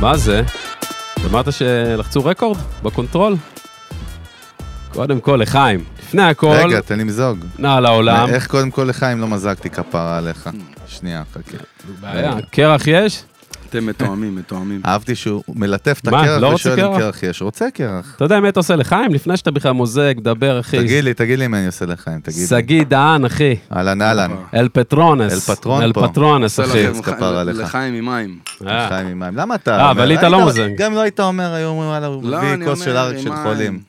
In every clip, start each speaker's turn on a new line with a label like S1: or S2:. S1: מה זה? אמרת שלחצו רקורד בקונטרול? קודם כל, לחיים. לפני הכל,
S2: רגע, אה, תן לי מזוג.
S1: נא לעולם.
S2: איך קודם כל לחיים לא מזגתי כפרה עליך? שנייה, חכה.
S1: בעיה. קרח יש?
S3: אתם מתואמים, מתואמים.
S2: אהבתי שהוא מלטף את
S1: מה,
S2: הקרח
S1: לא רוצה
S2: ושואל אם
S1: קרח?
S2: קרח יש. רוצה קרח.
S1: אתה יודע מה אתה עושה לחיים? לפני שאתה בכלל מוזג, דבר, אחי.
S2: תגיד לי, תגיד לי אם אני עושה לחיים, תגיד לי.
S1: שגיא דהן, אחי.
S2: אהלן אהלן.
S3: אה.
S1: אל פטרונס.
S2: אל פטרון
S1: אל
S2: פה.
S1: פטרונס,
S3: עושה
S1: אחי.
S3: לכם
S2: אז
S3: לחיים-
S2: כפרה עליך.
S3: לחיים עם מים.
S1: אה,
S2: חיים עם מים. למה אתה
S1: אה, אבל
S2: אומר?
S1: היית
S2: היית-
S1: לא מוזג.
S2: גם לא היית אומר, היו אומרים, וואלה, הוא
S3: לא,
S2: מביא
S3: אני
S2: כוס
S3: אומר,
S2: של ארק
S3: עם
S2: של
S3: מים.
S2: חולים.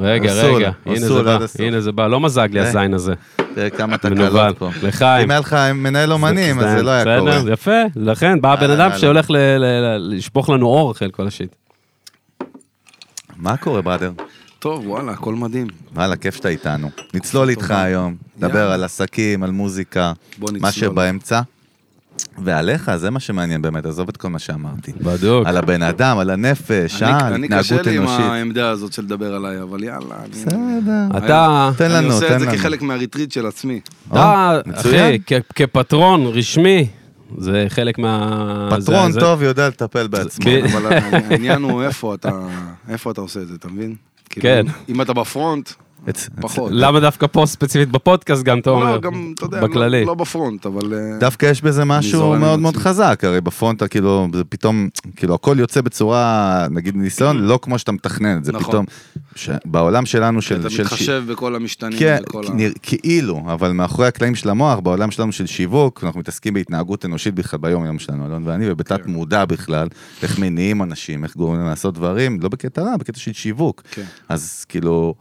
S1: רגע,
S2: אסור,
S1: רגע. הנה
S2: אסור,
S1: זה בא,
S2: עד הסוף.
S1: הנה זה בא. לא מזג לי
S2: אה.
S1: הזין הזה.
S2: תראה כמה
S1: מנוול.
S2: תקלות פה.
S1: לחיים.
S2: אם היה לך מנהל אומנים, אז זה לא היה קורה. אה,
S1: בסדר, יפה. לכן בא הבן
S2: אהלן,
S1: אדם
S2: אהלן.
S1: שהולך ל- ל- ל- לשפוך לנו אור אחרי כל השיט.
S2: מה קורה, בראדר?
S3: טוב, וואלה, הכל מדהים.
S2: וואלה, כיף שאתה איתנו. נצלול איתך
S3: תודה.
S2: היום, נדבר
S3: יאללה.
S2: על עסקים, על מוזיקה,
S3: בוא
S2: מה
S3: נצלול.
S2: שבאמצע. ועליך, זה מה שמעניין באמת, עזוב את כל מה שאמרתי.
S1: בדוק.
S2: על הבן אדם, על הנפש,
S3: אני-
S2: אה, על
S3: אני קשה
S2: התנהגות
S3: לי עם
S2: אנושית.
S3: העמדה הזאת של לדבר עליי, אבל יאללה. אני-
S2: בסדר.
S1: אתה,
S2: תן
S3: אני
S2: לנו,
S3: עושה
S2: תן
S3: את זה
S2: לנו.
S3: כחלק מהריטריט של עצמי.
S1: אתה,
S2: או, אה, מצוין.
S1: אחי, כ- כפטרון רשמי, זה חלק מה...
S2: פטרון
S1: זה- זה-
S2: טוב יודע לטפל בעצמו.
S1: כן.
S3: אבל העניין הוא איפה אתה איפה אתה עושה את זה, אתה מבין? כאילו,
S1: כן.
S3: אם אתה בפרונט,
S2: אצ-
S3: פחות.
S1: למה דווקא פה ספציפית בפודקאסט גם אתה אומר?
S3: לא, גם, אתה יודע,
S1: בכללי.
S3: לא- לא בפרונט, אבל... אה,
S2: דווקא יש בזה משהו
S3: זורם עם
S2: מאוד מאוד
S3: עצמי.
S2: חזק, הרי בפרונט אתה כאילו, זה פתאום, כאילו הכל יוצא בצורה, נגיד ניסיון, לא כמו שאתה מתכנן, זה
S3: נכון.
S2: פתאום, ש- בעולם שלנו של...
S3: אתה
S2: של-
S3: מתחשב בכל המשתנים.
S2: כן,
S3: וכל ה-
S2: נרא- כאילו, אבל מאחורי הקלעים של המוח, בעולם שלנו של שיווק, אנחנו מתעסקים בהתנהגות אנושית בכלל ביום יום שלנו, אלון ואני, ובתת
S3: כן.
S2: מודע בכלל, איך מניעים אנשים, איך גורמים להם לעשות דברים, לא בקטע רע, בקטע של שיווק.
S3: כן.
S2: אז כאילו,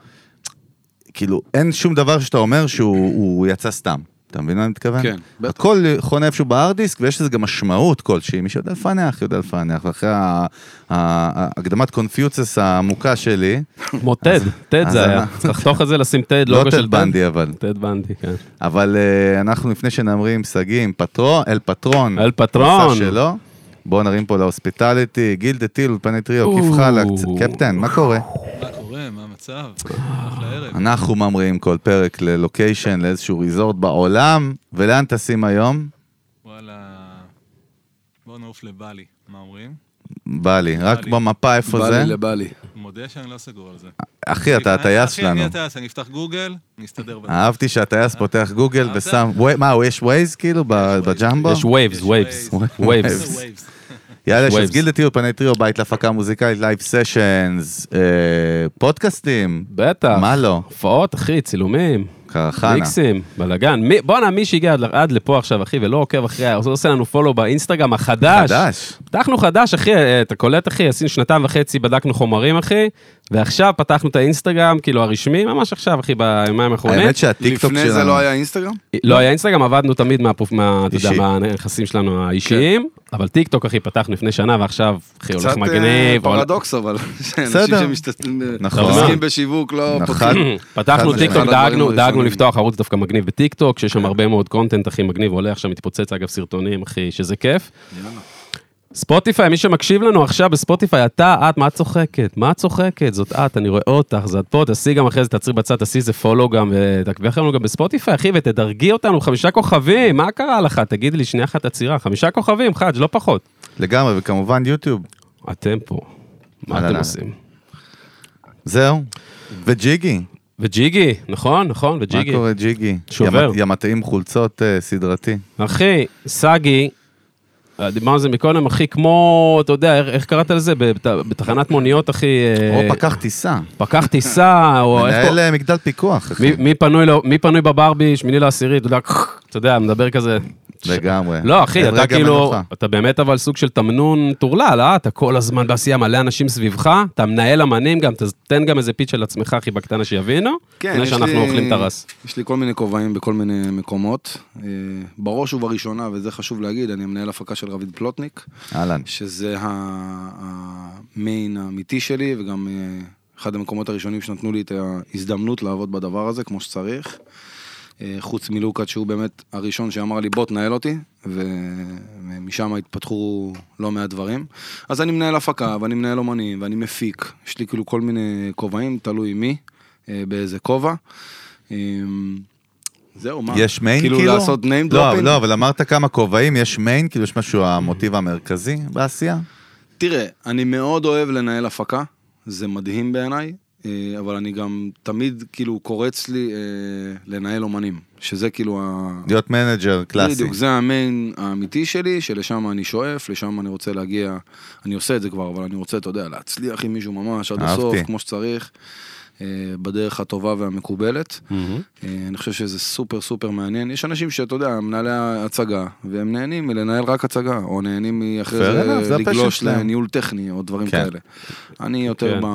S2: כאילו, אין שום דבר שאתה אומר שהוא הוא יצא סתם. אתה מבין מה אני מתכוון?
S3: כן, בטח.
S2: הכל חונה איפשהו בהארד דיסק, ויש לזה גם משמעות כלשהי. מי שיודע לפענח, יודע לפענח. ואחרי ה- ה- ה- הקדמת קונפיוצס העמוקה
S3: לא
S2: שלי,
S1: כמו טד, טד
S2: אז
S1: זה היה.
S2: אנחנו-
S1: צריך לחתוך את זה, לשים טד,
S2: לא
S1: לוגו של
S2: טל
S1: טד.
S2: בנדי אבל.
S1: טד בנדי, כן.
S2: אבל אה, אנחנו לפני שנאמרים שגים, פטרון, אל פטרון.
S1: אל פטרון.
S2: המסע שלו. בואו נרים פה להוספיטליטי, גיל דה טיל, אולפני טריו,
S1: או.
S2: כיף חלק, קפטן, מה קורה?
S4: מה קורה? מה המצב? אחלה ערב.
S2: אנחנו ממריאים כל פרק ללוקיישן, לאיזשהו ריזורט בעולם, ולאן טסים היום?
S4: וואלה... בוא נעוף לבלי, מה אומרים?
S2: בא לי, רק
S4: בלי.
S2: במפה איפה
S3: בא
S2: זה?
S3: לי לבלי.
S4: מודה שאני לא סגור על זה.
S2: אחי, אתה הטייס
S4: אחי,
S2: שלנו. אה,
S4: אני הטייס, אני אפתח גוגל, נסתדר בזה.
S2: אהבתי שהטייס פותח גוגל
S4: אהבת?
S2: ושם, ווי- מה, הוא יש ווייז כאילו ב- בג'מבו?
S1: יש וייבס,
S4: יש
S1: וייבס.
S2: waves.
S1: וייבס.
S4: זה waves.
S2: יאללה, יש
S1: Waves.
S2: אז גיל דה טיל, אולפני טריו, בית להפקה מוזיקלית, לייב סשנס, אה, פודקאסטים,
S1: בטח.
S2: מה לא?
S1: הופעות, אחי, צילומים.
S2: קרחנה.
S1: מיקסים, בלאגן. מי- בואנה, מי שהגיע עד- עד לפה עכשיו, אחי, ולא עוקב אחרי, הוא עושה לנו פולו באינסטגרם החדש.
S2: חדש.
S1: פתחנו חדש, אחי, אה, אתה קולט, אחי, עשינו שנתיים וחצי, בדקנו חומרים, אחי, ועכשיו פתחנו את האינסטגרם, כאילו הרשמי, ממש עכשיו, אחי, ביומיים האחרונים.
S2: האמת שהטיקטוק
S3: לפני
S2: שלנו...
S3: זה לא היה אינסטגרם?
S1: לא היה אינסטגרם, עבדנו תמיד מהפוף, מה, אתה יודע,
S2: אישי.
S1: מהנכסים שלנו האישיים, אבל טיק טוק, אחי, פתחנו לפני שנה, ועכשיו, אחי,
S3: קצת
S1: הולך
S3: אה,
S1: כאילו, מגניב.
S3: פרדוקס אבל, שאנשים
S2: בסדר. נכון.
S3: שמתעסקים בשיווק לא
S2: נכון.
S3: פותחים.
S1: הולך- פתחנו
S2: חד
S1: טיק טוק,
S3: משמעית. אחד
S1: דאגנו,
S3: הדברים
S1: דאגנו
S3: הראשונים.
S1: לפתוח ערוץ דווקא מגניב בטיק טוק, שיש שם הרבה מאוד קונטנט, אחי, מגניב, עולה עכשיו, מתפוצץ, אגב, סרטונים, אחי, שזה כיף. ספוטיפיי, מי שמקשיב לנו עכשיו בספוטיפיי, אתה, את, מה את צוחקת? מה את צוחקת? זאת את, אני רואה אותך, זאת פה, תעשי גם אחרי זה, תעצרי בצד, תעשי איזה פולו גם, ותעקבי אחרינו גם בספוטיפיי, אחי, ותדרגי אותנו, חמישה כוכבים, מה קרה לך? תגידי לי שנייה אחת עצירה, חמישה כוכבים, חאג', לא פחות.
S2: לגמרי, וכמובן יוטיוב.
S1: אתם פה, מה
S2: אהלן,
S1: אתם
S2: אהלן.
S1: עושים?
S2: זהו. וג'יגי,
S1: וג'יגי, נכון, נכון,
S2: מה
S1: וג'יגי.
S2: קורה ג'יגי?
S1: שובר.
S2: ימת- ימתאים חולצות אה, סדרתי.
S1: אחי, סגי, דיברנו על זה מקודם, אחי, כמו, אתה יודע, איך- איך קראת לזה? בת- בתחנת מוניות, אחי,
S2: או
S1: אה,
S2: פקח טיסה.
S1: פקח טיסה, או איך
S2: מנהל אה, מגדל פיקוח, אחי.
S1: מי- מי פנוי לא- מי פנוי בברבי, שמיני לעשירי, אתה יודע, אתה יודע, מדבר כזה.
S2: לגמרי.
S1: לא, אחי,
S2: אין
S1: אתה
S2: רגע
S1: כאילו,
S2: מנוחה.
S1: אתה באמת אבל סוג של תמנון טורלל, אה? אתה כל הזמן בעשייה, מלא אנשים סביבך, אתה מנהל אמנים גם, תן גם איזה פיץ של עצמך, אחי, בקטנה שיבינו,
S3: כן,
S1: לפני
S3: יש
S1: שאנחנו
S3: לי-
S1: אוכלים את הרס.
S3: יש לי כל מיני כובעים בכל מיני מקומות. אה, בראש ובראשונה, וזה חשוב להגיד, אני מנהל הפקה של רביד פלוטניק,
S2: אהלן.
S3: שזה ה- המיין האמיתי שלי, וגם אה, אחד המקומות הראשונים שנתנו לי את ההזדמנות לעבוד בדבר הזה כמו שצריך. אה, חוץ מלוקאץ' שהוא באמת הראשון שאמר לי בוא תנהל אותי, ו- ומשם התפתחו לא מעט דברים. אז אני מנהל הפקה, ואני מנהל אומנים, ואני מפיק, יש לי כאילו כל מיני כובעים, תלוי מי, אה, באיזה כובע. אה, זהו, מה?
S2: יש מיין כאילו?
S3: כאילו? כאילו לעשות name dropping?
S2: לא, לא, אבל אמרת כמה כובעים, יש מיין, כאילו יש משהו המוטיב המרכזי בעשייה?
S3: תראה, אני מאוד אוהב לנהל הפקה, זה מדהים בעיניי, אה, אבל אני גם תמיד, כאילו, קורץ לי אה, לנהל אומנים, שזה כאילו ה...
S2: להיות מנג'ר קלאסי.
S3: בדיוק, זה המיין האמיתי שלי, שלשם אני שואף, לשם אני רוצה להגיע, אני עושה את זה כבר, אבל אני רוצה, אתה יודע, להצליח עם מישהו ממש עד
S2: אהבתי.
S3: הסוף, כמו שצריך, אה, בדרך הטובה והמקובלת. אה, אני חושב שזה סופר סופר מעניין. יש אנשים שאתה יודע, הם מנהלי הצגה, והם נהנים מלנהל רק הצגה, או נהנים מאחרי
S2: Fair enough, זה
S3: זה
S2: הפשן
S3: לגלוש
S2: שלהם.
S3: לניהול טכני, או דברים
S2: כן.
S3: כאלה. אני יותר
S1: כן.
S3: ב...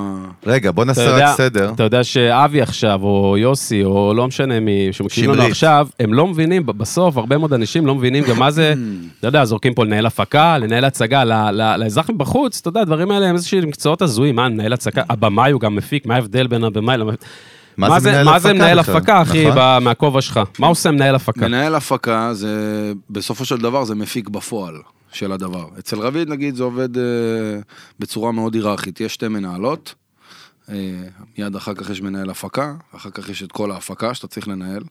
S2: רגע, בוא
S1: אתה
S2: נעשה
S1: יודע,
S2: רק סדר.
S1: אתה יודע שאבי עכשיו, או יוסי, או לא משנה מי, שמקשיבים לנו
S2: שמרית.
S1: עכשיו, הם לא מבינים, ב- בסוף הרבה מאוד אנשים לא מבינים גם מה זה, אתה יודע, זורקים פה לנהל הפקה, לנהל הצגה, ל- ל- לאזרח מבחוץ, אתה יודע, הדברים האלה הם איזשהם מקצועות הזויים, מה, מנהל הצגה, הבמאי הוא גם מפיק, מה ההבדל בין הבמאי למפיק?
S2: Mm. מה זה מנהל
S1: מה זה
S2: הפקה
S1: מנהל
S2: בכלל?
S1: הפקה, אחי,
S2: נכון.
S1: ב- מהכובע שלך? מה עושה מנהל
S2: כן.
S1: הפקה?
S3: מנהל הפקה זה, בסופו של דבר זה מפיק בפועל של הדבר. אצל רביד נגיד זה עובד אה, בצורה מאוד היררכית, יש שתי מנהלות, אה, מיד אחר כך יש מנהל הפקה, אחר כך יש את כל ההפקה שאתה צריך לנהל,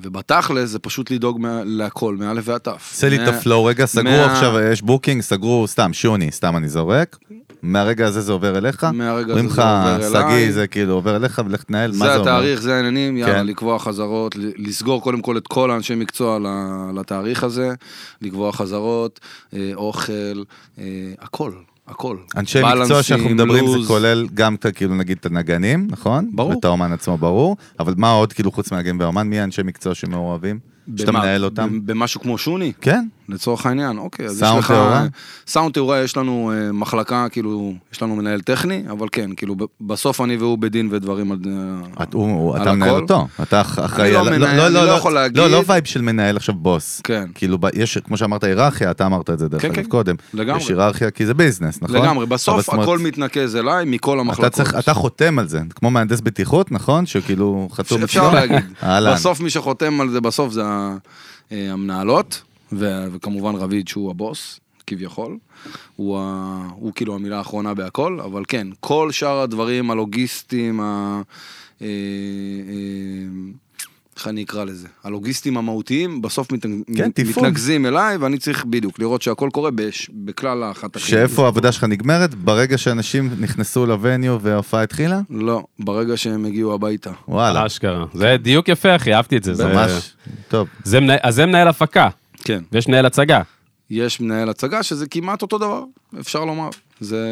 S3: ובתכל'ס זה פשוט לדאוג מה, להכל, מאלף ועד תף.
S2: עשה לי את
S3: מה-
S2: הפלואו, רגע, סגרו
S3: מה-
S2: עכשיו, יש בוקינג, סגרו, סתם, שוני, סתם אני זורק. מהרגע הזה זה עובר אליך?
S3: מהרגע הזה
S2: אומרים
S3: זה
S2: לך,
S3: עובר
S2: שגיא,
S3: אליי.
S2: זה כאילו עובר אליך ולך תנהל, מה זה
S3: זה
S2: אומר?
S3: התאריך, זה העניינים, יאללה,
S2: כן.
S3: לקבוע חזרות, ל- לסגור קודם כל את כל האנשי מקצוע ל- לתאריך הזה, לקבוע חזרות, אה, אוכל, אה, הכל, הכל.
S2: אנשי מקצוע שאנחנו
S3: בלנסים,
S2: מדברים, זה
S3: לוז.
S2: כולל גם את, ה- כאילו, נגיד, את הנגנים, נכון?
S3: ברור.
S2: ואת האומן עצמו, ברור. אבל מה עוד, כאילו, חוץ מהנגן והאומן, מי האנשי מקצוע שמעורבים? שאתה
S3: במה-
S2: מנהל אותם?
S3: במ- במשהו כמו שוני,
S2: כן.
S3: לצורך העניין, אוקיי. אז יש
S2: סאונד
S3: לך-
S2: תאורה?
S3: סאונד תאורה יש לנו אה, מחלקה, כאילו, יש לנו מנהל טכני, אבל כן, כאילו, ב- בסוף אני והוא בדין ודברים על... אה,
S2: את- הוא- הוא-
S3: על
S2: אתה מנהל
S3: הכל?
S2: אותו, אתה אח- אחראי
S3: לא
S2: על...
S3: מנהל, אני לא יכול להגיד.
S2: לא, לא וייב של מנהל עכשיו בוס.
S3: כן.
S2: כאילו, ב- יש, כמו שאמרת, היררכיה, אתה אמרת את זה דרך
S3: כן,
S2: אגב
S3: כן.
S2: קודם.
S3: לגמרי.
S2: יש היררכיה כי זה ביזנס, נכון?
S3: לגמרי,
S2: אבל
S3: בסוף
S2: זאת אומרת,
S3: הכל מתנקז אליי מכל
S2: אתה
S3: המחלקות.
S2: צריך, אתה חותם על זה, כמו מהנדס בטיחות, נכון? שכאילו חתום
S3: אפשר
S2: אצלו?
S3: להגיד.
S2: אהלן.
S3: בסוף מי שחותם על זה בסוף זה ה- אה, המנהלות, ו- וכמובן רביד שהוא הבוס, כביכול. הוא, ה... הוא כאילו המילה האחרונה בהכל, אבל כן, כל שאר הדברים הלוגיסטיים, ה... אה, אה, איך אני אקרא לזה? הלוגיסטים המהותיים בסוף מת...
S2: כן, תפעול.
S3: מתנקזים אליי, ואני צריך בדיוק לראות שהכל קורה בש... בכלל החתכים.
S2: שאיפה העבודה שלך נגמרת? ברגע שאנשים נכנסו לווניו וההופעה התחילה?
S3: לא, ברגע שהם הגיעו הביתה.
S2: וואלה,
S1: אשכרה. זה דיוק יפה, אחי, אהבתי את זה. זה-
S2: ממש טוב.
S1: זה מנה- אז זה מנהל הפקה,
S3: כן.
S1: ויש מנהל הצגה.
S3: יש מנהל הצגה שזה כמעט אותו דבר, אפשר לומר. זה...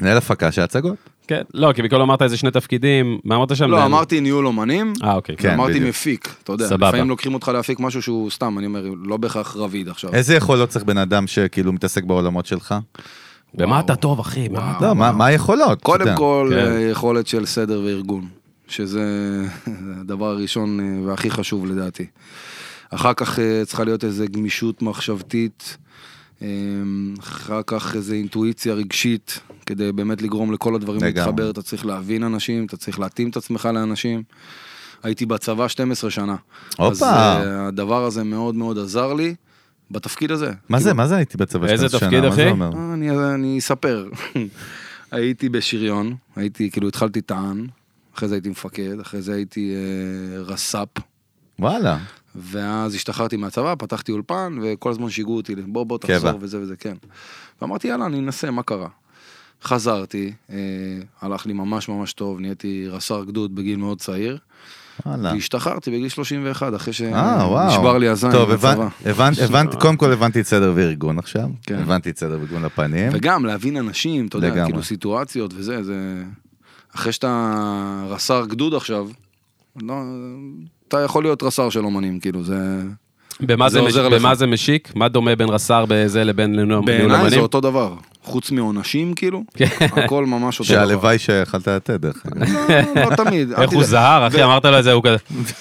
S2: מנהל הפקה של הצגות?
S1: כן, לא, כי בכל אמרת איזה שני תפקידים, מה אמרת שם?
S3: לא, אמרתי ניהול אומנים,
S1: אה, אוקיי.
S2: כן,
S3: אמרתי
S2: בדיוק.
S3: מפיק, אתה יודע,
S1: סבבה.
S3: לפעמים לוקחים אותך להפיק משהו שהוא סתם, אני אומר, לא בהכרח רביד עכשיו.
S2: איזה יכולות צריך בן אדם שכאילו מתעסק בעולמות שלך?
S1: במה אתה טוב, אחי? במה אתה-
S2: לא, מה מה היכולות? אתה
S3: אה, קודם
S2: יודע.
S3: כל,
S1: כן.
S3: אה, יכולת של סדר וארגון, שזה הדבר הראשון אה, והכי חשוב לדעתי. אחר כך אה, צריכה להיות איזו גמישות מחשבתית, אה, אחר כך איזו אינטואיציה רגשית, כדי באמת לגרום לכל הדברים
S2: לגמרי.
S3: להתחבר, אתה צריך להבין אנשים, אתה צריך להתאים את עצמך לאנשים. הייתי בצבא 12 שנה. אז
S2: הופה.
S3: אה, הדבר הזה מאוד מאוד עזר לי בתפקיד הזה.
S2: מה זה, מה זה הייתי בצבא
S1: איזה
S2: 12 שנה?
S1: תפקיד,
S2: מה זה
S1: אחי?
S2: אומר?
S3: אה, אני, אני אספר. הייתי בשריון, הייתי, כאילו התחלתי טען, אחרי זה הייתי מפקד, אחרי זה הייתי אה, רס"פ,
S2: וואלה,
S3: ואז השתחררתי מהצבא, פתחתי אולפן, וכל הזמן שיגעו אותי, בוא, בוא,
S2: קבע.
S3: תחזור וזה וזה, כן. ואמרתי, יאללה, אני אנסה, מה קרה? חזרתי, אה, הלך לי ממש ממש טוב, נהייתי רס"ר גדוד בגיל מאוד צעיר,
S2: וואלה.
S3: והשתחררתי בגיל 31, אחרי
S2: אה, וואו.
S3: שנשבר לי הזין
S2: טוב, הבנ-
S3: בצבא.
S2: הבנ- הבנתי, קודם כל הבנתי את סדר וארגון עכשיו.
S3: כן.
S2: הבנתי את סדר וארגון לפנים.
S1: כן.
S3: וגם להבין אנשים, אתה יודע,
S2: לגמרי.
S3: כאילו סיטואציות וזה, זה... אחרי שאתה רס"ר גדוד עכשיו, לא, אתה יכול להיות רס"ר של אומנים, כאילו, זה...
S1: במה
S3: זה
S1: זה
S3: לא עוזר
S1: מש-
S3: לך.
S1: במה זה משיק? מה דומה בין רס"ר בזה לבין ניהול
S3: בעיניי זה
S1: אמנים?
S3: אותו דבר. חוץ מעונשים, כאילו,
S1: כן.
S3: הכל ממש אותו דבר.
S2: שהלוואי שיכלת לתת, דרך אגב.
S3: לא, לא תמיד. אל
S1: איך הוא
S3: תדאג.
S1: זהר, אחי, אמרת לו את זה, הוא כזה.